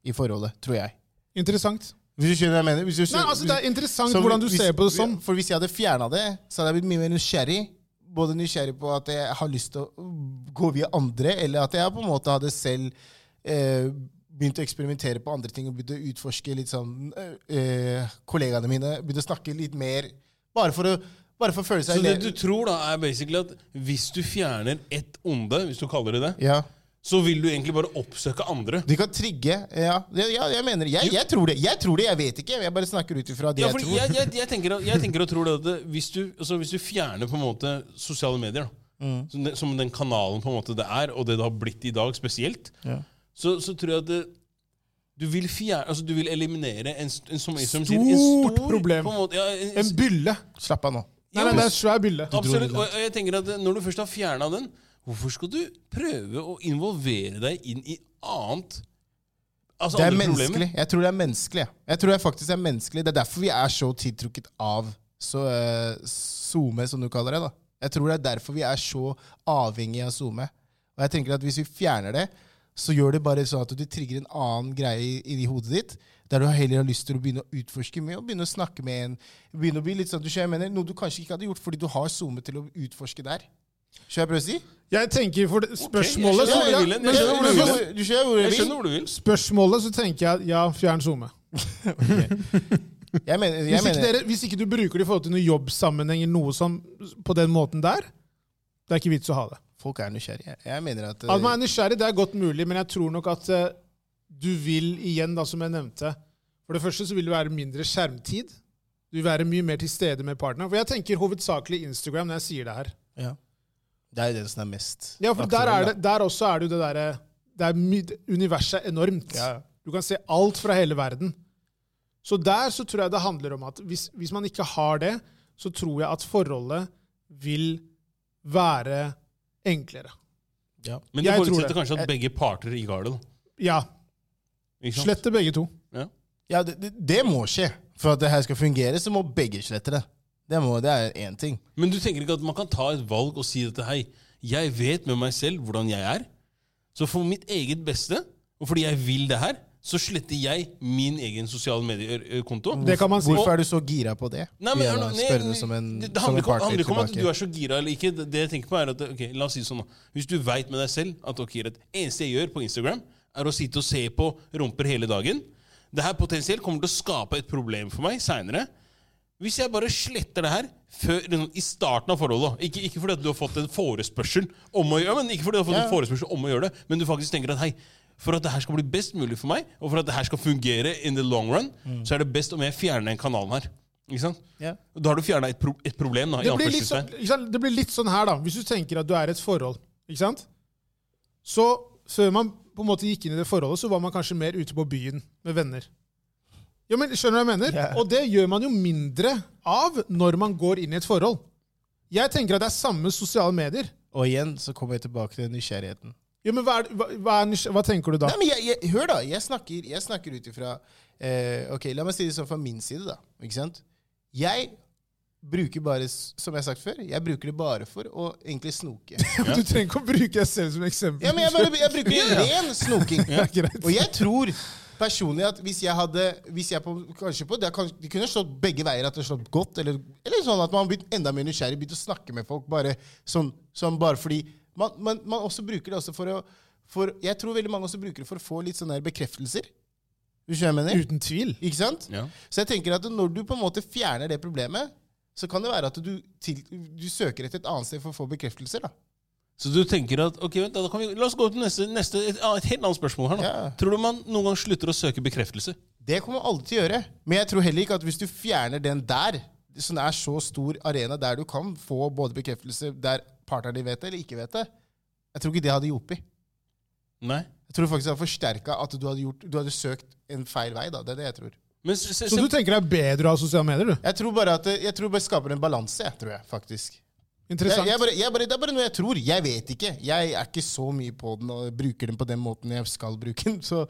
i forholdet, tror jeg. Interessant. Hvis du skjønner hva jeg mener? Hvis du, Nei, altså Det er interessant Så hvordan du hvis- ser på det sånn. For hvis jeg hadde fjerna det, så hadde jeg blitt mye mer nysgjerrig. Både nysgjerrig på at jeg har lyst til å gå via andre, eller at jeg på en måte hadde selv eh, begynt å eksperimentere på andre ting og begynt å utforske litt sånn eh, eh, Kollegaene mine begynte å snakke litt mer, bare for å, bare for å føle seg Så det le- du tror, da, er basically at hvis du fjerner ett onde, hvis du kaller det det, Ja. så vil du egentlig bare oppsøke andre. De kan trigge. Ja, ja, ja jeg mener jeg, jeg tror det. Jeg tror det, jeg vet ikke. Jeg bare snakker ut ifra det Ja, jeg fordi tror. jeg, jeg, jeg, tenker, jeg tenker og tror det at det- hvis du, altså hvis du fjerner på en måte sosiale medier, da, Mm. som, den, som den kanalen på en måte det er, og det det har blitt i dag spesielt, Ja. så, så tror jeg at det, du vil, fjerne, altså du vil eliminere en, st- en, som, som Stort problem. på en måte, ja, en, En bylle. Slapp av nå. Nei, nei, det er en svær bylle. Absolutt. Og og jeg tenker at når du først har fjerna den, hvorfor skal du prøve å involvere deg inn i annet? Altså Det er andre menneskelig. problemer? Jeg tror det er menneskelig. ja. Jeg tror det faktisk er menneskelig. Det er derfor vi er så tiltrukket av så, eh, SoMe, som du kaller det. da. Jeg tror det er derfor vi er så avhengig av SoMe. Og jeg tenker at hvis vi fjerner det, så gjør det bare sånn at du trigger en annen greie i, i hodet ditt, der du heller har lyst til å begynne å utforske med og begynne å snakke med en begynne å bli litt sånn, du skjønner, hva jeg mener, Noe du kanskje ikke hadde gjort fordi du har SoMe til å utforske der. Skjønner jeg prøver å si? Jeg tenker for det, jeg spørsmålet skjønner så, hvor du ja, vil hen. Jeg men- skjønner hvor du men- vil hen. Du skjønner hvor Jeg jeg vil? skjønner hvor du vil. Spørsmålet så tenker jeg ja, fjern SoMe. Jeg mener, jeg Hvis, ikke mener dere- hvis ikke du bruker det i forhold til noen jobbsammenheng eller noe sånn på den måten der, det er ikke vits å ha det. Folk er nysgjerrige. Jeg mener at eh, At man er nysgjerrig, det er godt mulig, men jeg tror nok at eh, du vil igjen, da, som jeg nevnte For det første så vil det være mindre skjermtid. Du vil være mye mer til stede med partneren. For jeg tenker hovedsakelig Instagram når jeg sier det her. Ja. Det er jo den som er mest Ja, for der, aktuell, er da. det, der også er det jo det derre det er my- Universet er enormt. Ja. Du kan se alt fra hele verden. Så der så tror jeg det handler om at hvis, hvis man ikke har det, så tror jeg at forholdet vil være enklere. Men det Jeg tror forutsetter det. kanskje at begge parter ikke har det. da. Ja. Ikke sant? Slette begge to. Ja. Ja, det, det, det må skje. For at det her skal fungere, så må begge slette det. Det, må, det er én ting. Men du tenker ikke at man kan ta et valg og si dette hei, jeg vet med meg selv hvordan jeg er, så for mitt eget beste, og fordi jeg vil det her, så sletter jeg min egen sosiale mediekonto. Det kan man si. Hvorfor er du så gira på det? Nei, men, Igjen da, nei, nei, spør du som en, det, det som handler ikke en om- partner handler ikke om at du tilbake. er så gira eller ikke. Det, det jeg tenker på er at, ok, La oss si det sånn da. Hvis du veit med deg selv at ok, det eneste jeg gjør på Instagram, er å sitte og se på rumper hele dagen Det her potensielt kommer til å skape et problem for meg seinere. Hvis jeg bare sletter det her før, liksom, i starten av forholdet Ikke, ikke fordi at du har fått en forespørsel om å gjøre ja, men ikke fordi du har fått en forespørsel om å gjøre det, men du faktisk tenker at hei, for at det her skal bli best mulig for meg, og for at det her skal fungere in the long run, så er det best om jeg fjerner den kanalen her. Ikke sant? Mm. Ja. Da har du fjerna et, pro et problem, da. i Det blir, litt sånn, anførselstegn. ikke sant? det blir litt sånn her, da. Hvis du tenker at du er i et forhold, ikke sant? Så før man på en måte gikk inn i det forholdet, så var man kanskje mer ute på byen med venner. Ja, men Skjønner du hva jeg mener? Ja. Og det gjør man jo mindre av når man går inn i et forhold. Jeg tenker at det er samme sosiale medier. Og igjen så kommer jeg tilbake til nysgjerrigheten. Ja, men hva, er, hva, hva, er, nysg- hva tenker du da? Nei, men jeg, jeg, hør, da. Jeg snakker, jeg snakker ut ifra eh, Ok, la meg si det sånn fra min side, da. Ikke sant? Jeg bruker bare, s- som jeg har sagt før, jeg bruker det bare for å egentlig snoke. [laughs] Du trenger ikke å bruke deg selv som eksempel. Ja, men jeg, bare, jeg bruker ren snoking. greit. Og jeg tror personlig at hvis jeg hadde hvis jeg på, kanskje på, det, er kanskje, De kunne slått begge veier, at det slått godt, eller, eller sånn at man blir enda mer nysgjerrig, begynte å snakke med folk bare sånn, sånn bare fordi man, man, man også bruker det også for å for, Jeg tror veldig mange også bruker det for å få litt sånne her bekreftelser. Hvis du skjønner hva jeg mener? Uten tvil. Ikke sant? Ja. Så jeg tenker at når du på en måte fjerner det problemet, så kan det være at du, til, du søker etter et annet sted for å få bekreftelser. da. Så du tenker at ok, vent, da, da kan vi, La oss gå til neste, neste et, et helt annet spørsmål her. da. Ja. Tror du man noen gang slutter å søke bekreftelse? Det kommer alle til å gjøre. Men jeg tror heller ikke at hvis du fjerner den der, som er så stor arena der du kan få både bekreftelse der partneren din vet det, eller ikke vet det Jeg tror ikke det hadde hjulpet. Nei. Jeg tror faktisk det hadde forsterka at du hadde, gjort, du hadde søkt en feil vei. da. Det er det jeg tror. Men se, se, [laughs] Så du tenker det er bedre å ha sosiale medier, du? Jeg tror bare at det- jeg tror bare det skaper en balanse, jeg, tror jeg, faktisk. Jeg, Interessant. jeg bare, jeg bare, det er bare noe jeg tror. Jeg vet ikke. Jeg er ikke så mye på den og bruker den på den måten jeg skal bruke den. Så,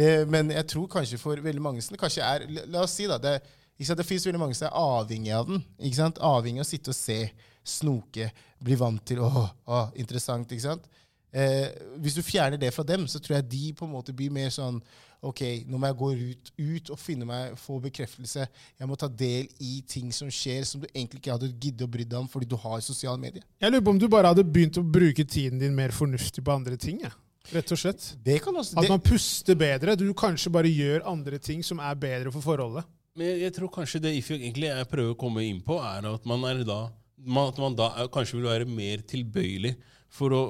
eh, men jeg tror kanskje for veldig mange som det kanskje er la- La oss si, da. Det, ikke sant? det fins veldig mange som er avhengig av den. Ikke sant? Avhengig av å sitte og se, snoke, bli vant til Åh, åh interessant. ikke sant? Eh, hvis du fjerner det fra dem, så tror jeg de på en måte blir mer sånn Ok, nå må jeg gå ut, ut og finne meg, få bekreftelse. Jeg må ta del i ting som skjer, som du egentlig ikke hadde giddet å bry deg om fordi du har sosiale medier. Jeg lurer på om du bare hadde begynt å bruke tiden din mer fornuftig på andre ting. jeg. Rett og slett. Det kan også At det, man puster bedre. Du kanskje bare gjør andre ting som er bedre for forholdet. Men jeg, jeg tror kanskje det Ifjok egentlig jeg prøver å komme inn på, er at man, er da, man, at man da er, kanskje vil være mer tilbøyelig for å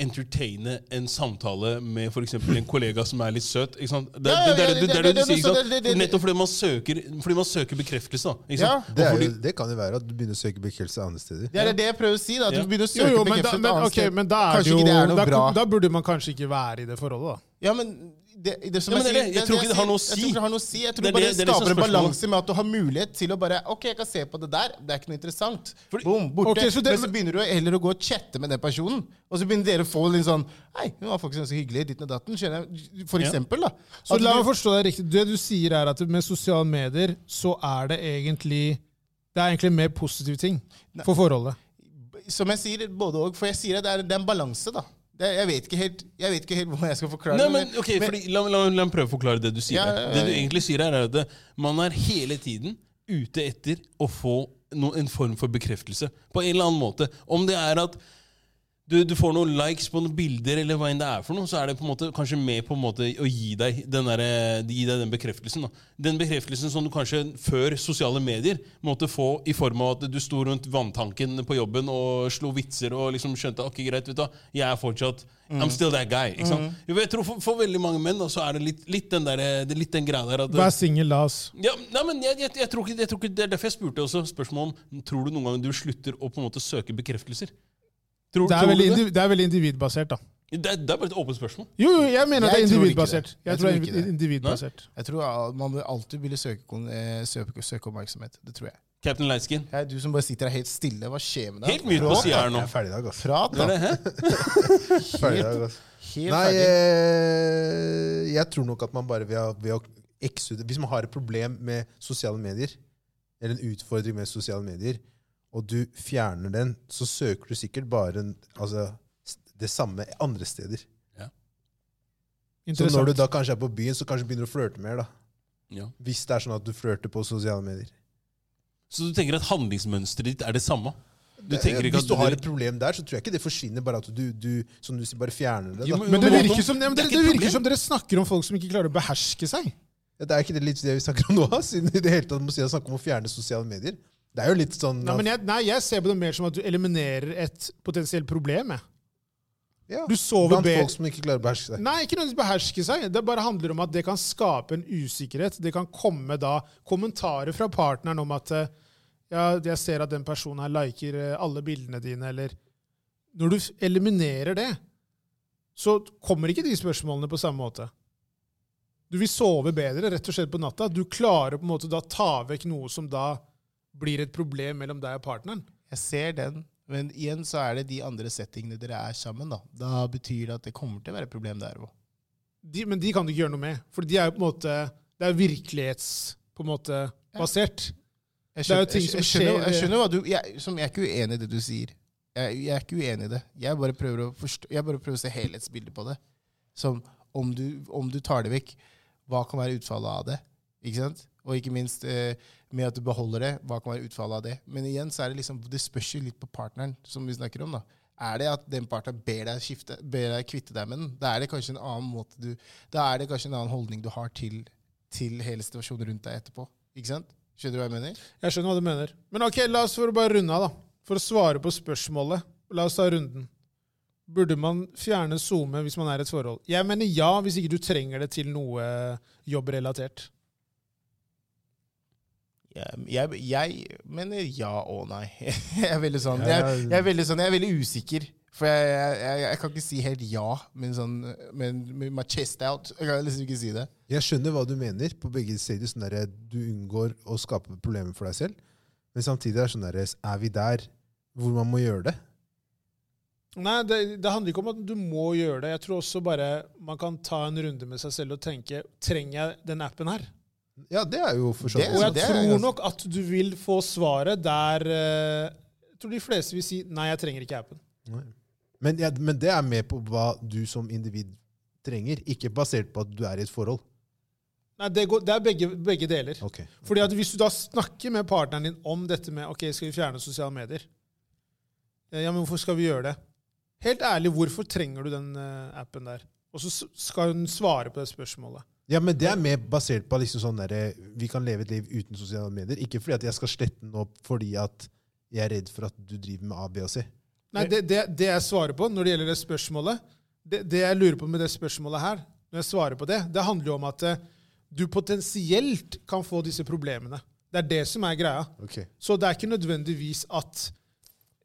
entertaine en samtale med f.eks. en kollega som er litt søt. Ikke sant? Det, Ja, ja, det, det, ja, er det, det, er det du det- det- sier, ikke det- det- det- sant? Nettopp fordi man søker, fordi man søker bekreftelse. Da, ikke Ja. sant? Det, Og er fordi, jo, det kan jo være at du begynner å søke bekreftelse andre steder. det er det jeg prøver å si. da, At Ja. du begynner å Jo, søke jo, men da, bekreftelse et men, annet ok, sted. men da, er det Kanskje jo, ikke det er noe da, bra. da burde man kanskje ikke være i det forholdet, da. Ja, men det, det som Ja, men jeg, det er det. sier, Jeg det er tror det ikke det har sier. noe å si. Jeg tror ikke det har noe å si. Jeg tror Det er bare det- det, det er liksom skaper en spørsmålet. balanse med at du har mulighet til å bare Ok, jeg kan se på det der. Det er ikke noe interessant. Fordi- Boom, borte. Ok, så det- men så begynner du heller å gå og chatte med den personen. Og så begynner dere å få litt sånn Hei, hun var faktisk ganske hyggelig. Ditten og datten. Skjønner jeg. For Ja. eksempel, da. Så At la du- meg forstå deg riktig. Det du sier, er at med sosiale medier så er det egentlig det er egentlig mer positive ting for forholdet. som jeg sier, både og. For jeg sier at det er, det er en balanse, da. Det, jeg, vet ikke helt, jeg vet ikke helt hvordan jeg skal forklare Nei, det. men, ok, fordi, la, la, la meg prøve å forklare det du sier. Ja, her. ja, ja, Det du ja. egentlig sier, her er at det- man er hele tiden ute etter å få no, en form for bekreftelse. På en eller annen måte. Om det er at du, du får noen likes på noen bilder, eller hva enn det er for noe, så er det på en måte kanskje med på en måte å gi deg den, derre- gi deg den bekreftelsen. Da. Den bekreftelsen som du kanskje før sosiale medier måtte få i form av at du sto rundt vanntanken på jobben og slo vitser og liksom skjønte ok, greit, vet du, hva, jeg er fortsatt Mm. I'm still that guy. ikke sant? Jo, Jeg tror for, for veldig mange menn da, så er det litt, litt, den, der, eh, det er litt den greia der at Vær singel, la oss. ja, nei, men jeg, jeg, jeg, tror ikke, jeg tror ikke, Det er derfor jeg spurte også spørsmålet om tror du noen gang du slutter å på en måte søke bekreftelser. Tror, Det er tror du veldig, indiv- det er veldig individbasert, da. det, er- det er bare et åpent spørsmål. Jo, jo, jeg mener at det er Jeg tror ikke det. individbasert. Jeg, tror Jeg tror det er ikke det. individ- individbasert. Jeg tror al- man vil alltid ville søke, kon- eh, søke, søke oppmerksomhet. Det tror jeg. Captain Lightskin. Hei, du som bare sitter her helt stille, hva skjer med deg? Helt mute på Prat, siden da. her nå. Jeg er ferdig i dag, ass. Prat, da. Det er det, hæ? Ferdig i dag, altså. ass. Helt Nei, ferdig. eh, jeg tror nok at man bare ved å, ved å exude Hvis man har et problem med sosiale medier, eller en utfordring med sosiale medier, og du fjerner den, så søker du sikkert bare en, altså, s- det samme andre steder. Så når du Interessant. da kanskje er på byen, så kanskje begynner du å flørte mer, da. Ja. Hvis det er sånn at du flørter på sosiale medier. Så du tenker at handlingsmønsteret ditt er det samme? Du tenker ikke Eh, Hvis at du har et problem der, så tror jeg ikke det forsvinner, bare at du, du som du sier, bare fjerner det. Jo, Da. Men det Måten- virker, som, ja, men Det er dere, ikke det et virker problem. som dere snakker om folk som ikke klarer å beherske seg. Det er ikke det litt det vi snakker om nå, [laughs] ass, siden i det hele tatt må si å snakke om å fjerne sosiale medier. Det er jo litt sånn Nei, men jeg, nei, jeg ser på det mer som at du eliminerer et potensielt problem. jeg. Ja, Du sover Blant bedre. folk som ikke klarer å beherske seg. Nei, ikke nødvendigvis beherske seg. Det bare handler om at det kan skape en usikkerhet. Det kan komme da kommentarer fra partneren om at eh, ja, jeg ser at den personen her liker eh, alle bildene dine, eller Når du f- eliminerer det, så kommer ikke de spørsmålene på samme måte. Du vil sove bedre rett og slett på natta. Du klarer på en måte da ta vekk noe som da blir et problem mellom deg og partneren. Jeg ser den. Men igjen så er det de andre settingene dere er sammen, da. Da betyr det at det kommer til å være et problem der òg. De, men de kan du ikke gjøre noe med, for de er jo på en måte Det er virkelighets... På en måte basert. Jeg Det er jo skjønner, ting jeg, som jeg skjønner, jeg skjer- eh. skjønner hva du jeg, som, jeg er ikke uenig i det du sier. Jeg, jeg er ikke uenig i det. Jeg bare prøver å, forstå, jeg bare prøver å se helhetsbildet på det. Som om du, om du tar det vekk Hva kan være utfallet av det? Ikke sant? Og ikke minst eh, med at du beholder det, hva kan være utfallet av det? Men igjen så er det liksom, det spørs jo litt på partneren som vi snakker om. da. Er det at den partneren ber deg, skifte, ber deg kvitte deg med den? Da er det kanskje en annen måte du, da er det kanskje en annen holdning du har til, til hele situasjonen rundt deg etterpå. Ikke sant? Skjønner du hva jeg mener? Jeg skjønner hva du mener. Men ok, la oss for å bare runde av, da. For å svare på spørsmålet. La oss ta runden. Burde man fjerne SoMe hvis man er i et forhold? Jeg mener ja, hvis ikke du trenger det til noe eh, jobbrelatert. Jeg, jeg, jeg mener ja og nei. [laughs] Jeg er veldig sånn, jeg, Jeg- jeg er veldig, sånn, jeg er veldig usikker. For jeg, jeg, jeg, jeg kan ikke si helt ja, men sånn men, med my chest out. Jeg kan liksom ikke si det. [laughs] Jeg skjønner hva du mener på begge sider. Sånn der, du unngår å skape problemer for deg selv. Men samtidig er det sånn der, er vi der hvor man må gjøre det? Nei, det, det handler ikke om at du må gjøre det. Jeg tror også bare man kan ta en runde med seg selv og tenke trenger jeg den appen her? Ja, det er jo for så Det er vidt. Og jeg det er tror ganske- nok at du vil få svaret der eh, Jeg tror de fleste vil si nei, jeg trenger ikke appen. Nei. Men, jeg- men det er med på hva du som individ trenger, ikke basert på at du er i et forhold. Nei, Det, går, det er begge, begge deler. Ok. Fordi at Hvis du da snakker med partneren din om dette med ok, skal vi fjerne sosiale medier Eh, Ja, men hvorfor skal vi gjøre det? Helt ærlig, hvorfor trenger du den eh, appen der? Og så s- skal hun svare på det spørsmålet. Ja, men det er mer basert på liksom sånn der, vi kan leve et liv uten sosiale medier. Ikke fordi at jeg skal slette den opp fordi at jeg er redd for at du driver med A, B og C. Nei, Eh. det, det, det jeg svarer på når det gjelder det spørsmålet det, det jeg lurer på med det spørsmålet her, når jeg svarer på det, det handler jo om at eh, du potensielt kan få disse problemene. Det er det som er greia. Ok. Så det er ikke nødvendigvis at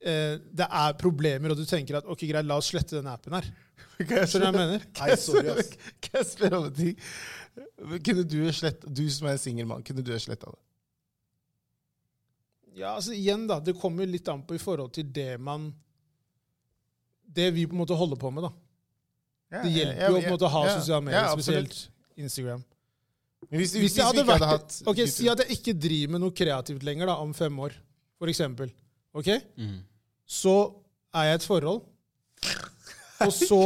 eh, det er problemer, og du tenker at ok, greit, la oss slette den [laughs] appen her. Skjønner du hva jeg mener? Nei, sorry, ass. Kan jeg spørre om en ting? Kunne du, slett, du som er en singel mann, kunne du ha sletta det? [laughs] Ja, altså igjen da, Det kommer jo litt an på i forhold til det man Det vi på en måte holder på med. da. Det hjelper jo på en måte å ha sosiale medier, spesielt Instagram. Men hvis, Hvis jeg hadde vi ikke vært hatt Ok, YouTube- Si at jeg ikke driver med noe kreativt lenger da, om fem år, for eksempel. Ok? Mm. Så er jeg i et forhold, og så,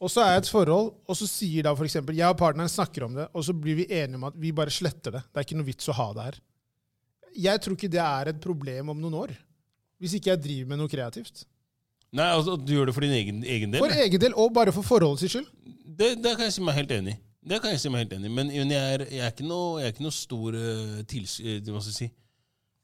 og så er jeg i et forhold, og så sier da for eksempel, jeg og partneren snakker om det, og så blir vi enige om at vi bare sletter det. Det er ikke noe vits å ha det her. Jeg tror ikke det er et problem om noen år. Hvis ikke jeg driver med noe kreativt. Nei, altså, du gjør det for din egen, egen del. For egen del, og bare for forholdets skyld. Det, det kan jeg si meg helt enig i. Det kan jeg si meg helt enig i. Men men jeg er, jeg er ikke noe, jeg er ikke noe stor eh, tils... eh, Hva skal jeg si?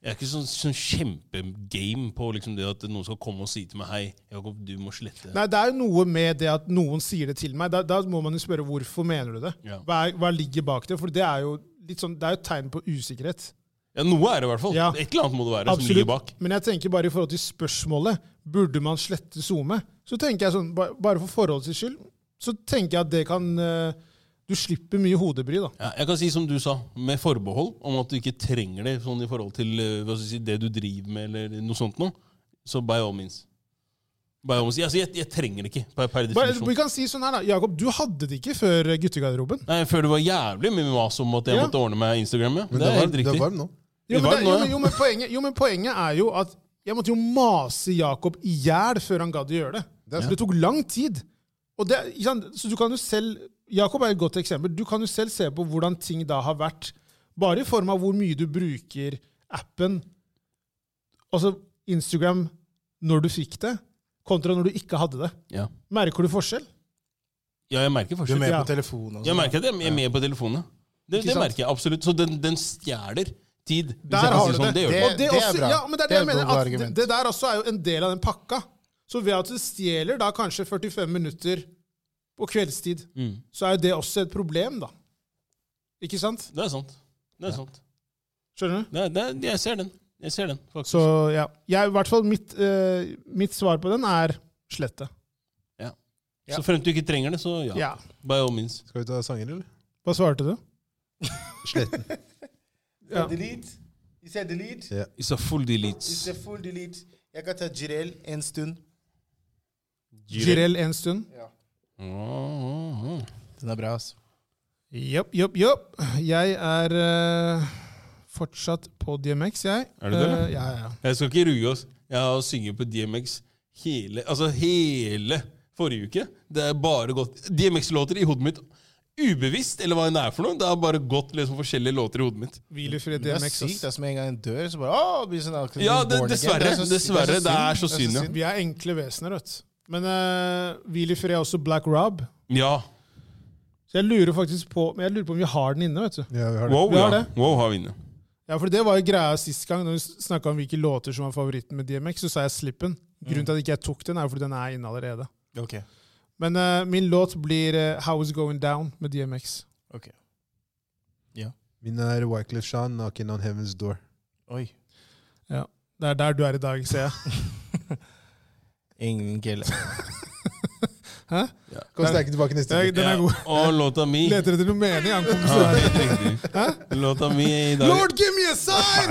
Jeg er ikke sånn, sånn kjempegame på liksom det at noen skal komme og si til meg Hei, Jakob, du må slette Nei, det er jo noe med det at noen sier det til meg. Da, da må man jo spørre hvorfor mener du det. Ja. Hva, er, hva ligger bak det? For det er jo litt sånn, det er jo et tegn på usikkerhet. Ja, noe er det i hvert fall. Ja. Et eller annet må det være som ligger bak. Men jeg tenker bare i forhold til spørsmålet, burde man slette SoMe? Så tenker jeg sånn, ba- bare for forholdets skyld, så tenker jeg at det kan eh, Du slipper mye hodebry, da. Ja, jeg kan si som du sa, med forbehold om at du ikke trenger det sånn i forhold til eh, hva skal jeg si, det du driver med, eller noe sånt noe, så by all means. By all means. Ja, Altså, jeg, jeg trenger det ikke, per, per Bare, definisjon. vi kan si sånn her, da. Jakob, du hadde det ikke før guttegarderoben. Nei, Jeg føler det var jævlig mye mas om at jeg Ja. måtte ordne meg Instagram. Ja. Men Det er helt du er riktig. varm nå. Jo, Det men, var det, nå, jo, ja. men, jo, men, poenget, jo, men poenget er jo at jeg måtte jo mase Jakob i hjel før han gadd å gjøre det. er Det tok lang tid. Og det, ikke sant? Så du kan jo selv, Jakob er et godt eksempel. Du kan jo selv se på hvordan ting da har vært, bare i form av hvor mye du bruker appen, altså Instagram, når du fikk det, kontra når du ikke hadde det. Ja. Merker du forskjell? ja, jeg merker Du er forskjell. med Ja. på telefonen og Jeg sånn. merker at jeg er med på telefonen. Det, Ikke det sant? merker jeg absolutt. Så den, den stjeler tid. hvis Der jeg kan har si du det. sånn. Det gjør Det- den. Og det, er også, bra. Ja, men det er det, Det er jeg et mener. godt At det, argument. det der også er jo en del av den pakka. Så ved at du stjeler da kanskje 45 minutter på kveldstid, Mm. så er jo det også et problem, da. Ikke sant? Det er sant. Det er sant. Skjønner du? Det, er- det, er- jeg ser den. Jeg ser den, faktisk. Så ja. Jeg, i hvert fall mitt, eh, mitt svar på den er slette. Ja. Så fremt du ikke trenger det, så ja. Ja. By all means. Skal vi ta sanger, eller? Hva svarte du? Sletten. Ja. Delete. Is that delete? It's a full Is delete. that full delete? Jeg kan ta Jirel en stund. Jirel en stund. Mm-hmm. Den er bra, altså. Jopp, jopp, jopp. Jeg er eh, fortsatt på DMX, jeg. Er du det, eller? Eh, ja, ja, ja. Jeg skal ikke ruge oss. Jeg har synget på DMX hele, altså hele forrige uke. Det er bare godt. DMX-låter i hodet mitt ubevisst, eller hva enn det er for noe. Det har bare gått liksom forskjellige låter i hodet mitt. Hvil i fred, Det er DMX. sykt. ass. Det er som en gang en dør, så bare åh, blir sånn akkurat Ja, sånn det- born again. dessverre, så- dessverre, synd. det er så synd, ja. Vi er enkle vesener, vet du. Men eh, hvil i fred er også Black Rob. Ja. Så jeg lurer faktisk på men jeg lurer på om vi har den inne. vet du. Ja, vi har det. Wow, Vi har ja. det. wow har vi inne. Ja, for Det var jo greia sist gang, når vi snakka om hvilke låter som var favoritten med DMX, så sa jeg Slippen. Grunnen til at ikke jeg tok den, er jo fordi den er inne allerede. Ok, Men eh, min låt blir eh, How Is Going Down med DMX. ok. Min er Wyclef Jean, 'Knocking on Heaven's Door'. Oi. Det er der du er i dag, [laughs] ser jeg. Ingen gelle. Kom sterke tilbake neste Den er, uke. den er god. Og låta mi Leter etter noe mening, han Ja, kompisen her. helt riktig. Låta mi i dag Lord, give me a sign!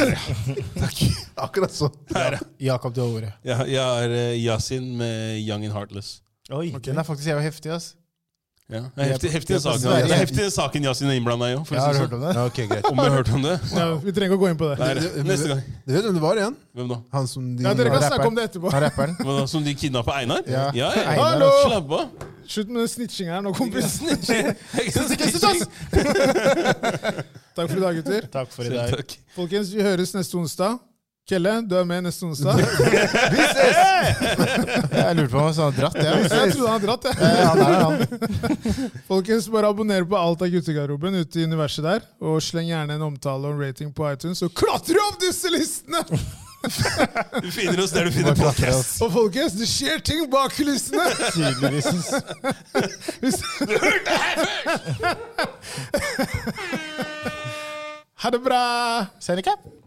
Akkurat sånn. [laughs] Jakob, du har ordet. Ja, Jeg har eh, Yasin med Young and Heartless. Oi, Den er faktisk jævla heftig, ass. Ja. Det er heftig, heftig, Jeg er på saken. Sverige. Det er heftig saken Yasin er innblanda i òg. Jeg har hørt [laughs] om det. Ja, ok, greit. sånn. Om du har hørt om det? Ja, vi trenger ikke å gå inn på det. Der, neste gang. Du vet hvem det var igjen? Hvem da? Han som de Ja, Dere kan rapper. snakke om det etterpå. Han [laughs] rapperen. Hva da? Som de kidnappa Einar? Ja. ja, ja. Einar, Hallo! altså. Slapp av. Slutt med snitching her nå, kompis. [laughs] Tusen Takk for i dag, gutter. Takk for i dag. takk. [laughs] Folkens, vi høres neste onsdag. Kelle, du er med neste onsdag. Jeg lurte på om han sånn dratt, [laughs] Jeg jeg. trodde han hadde dratt, jeg. Eh, Han er der, han. Folkens, bare abonner på alt av guttegarderoben ute i universet der. Og sleng gjerne en omtale og en rating på iTunes, og klatre opp disse listene! Du finner oss der du finner podkast. Og folkens, det skjer ting bak kulissene! Tydeligvis. Hvis- Ha det bra! Sendekap.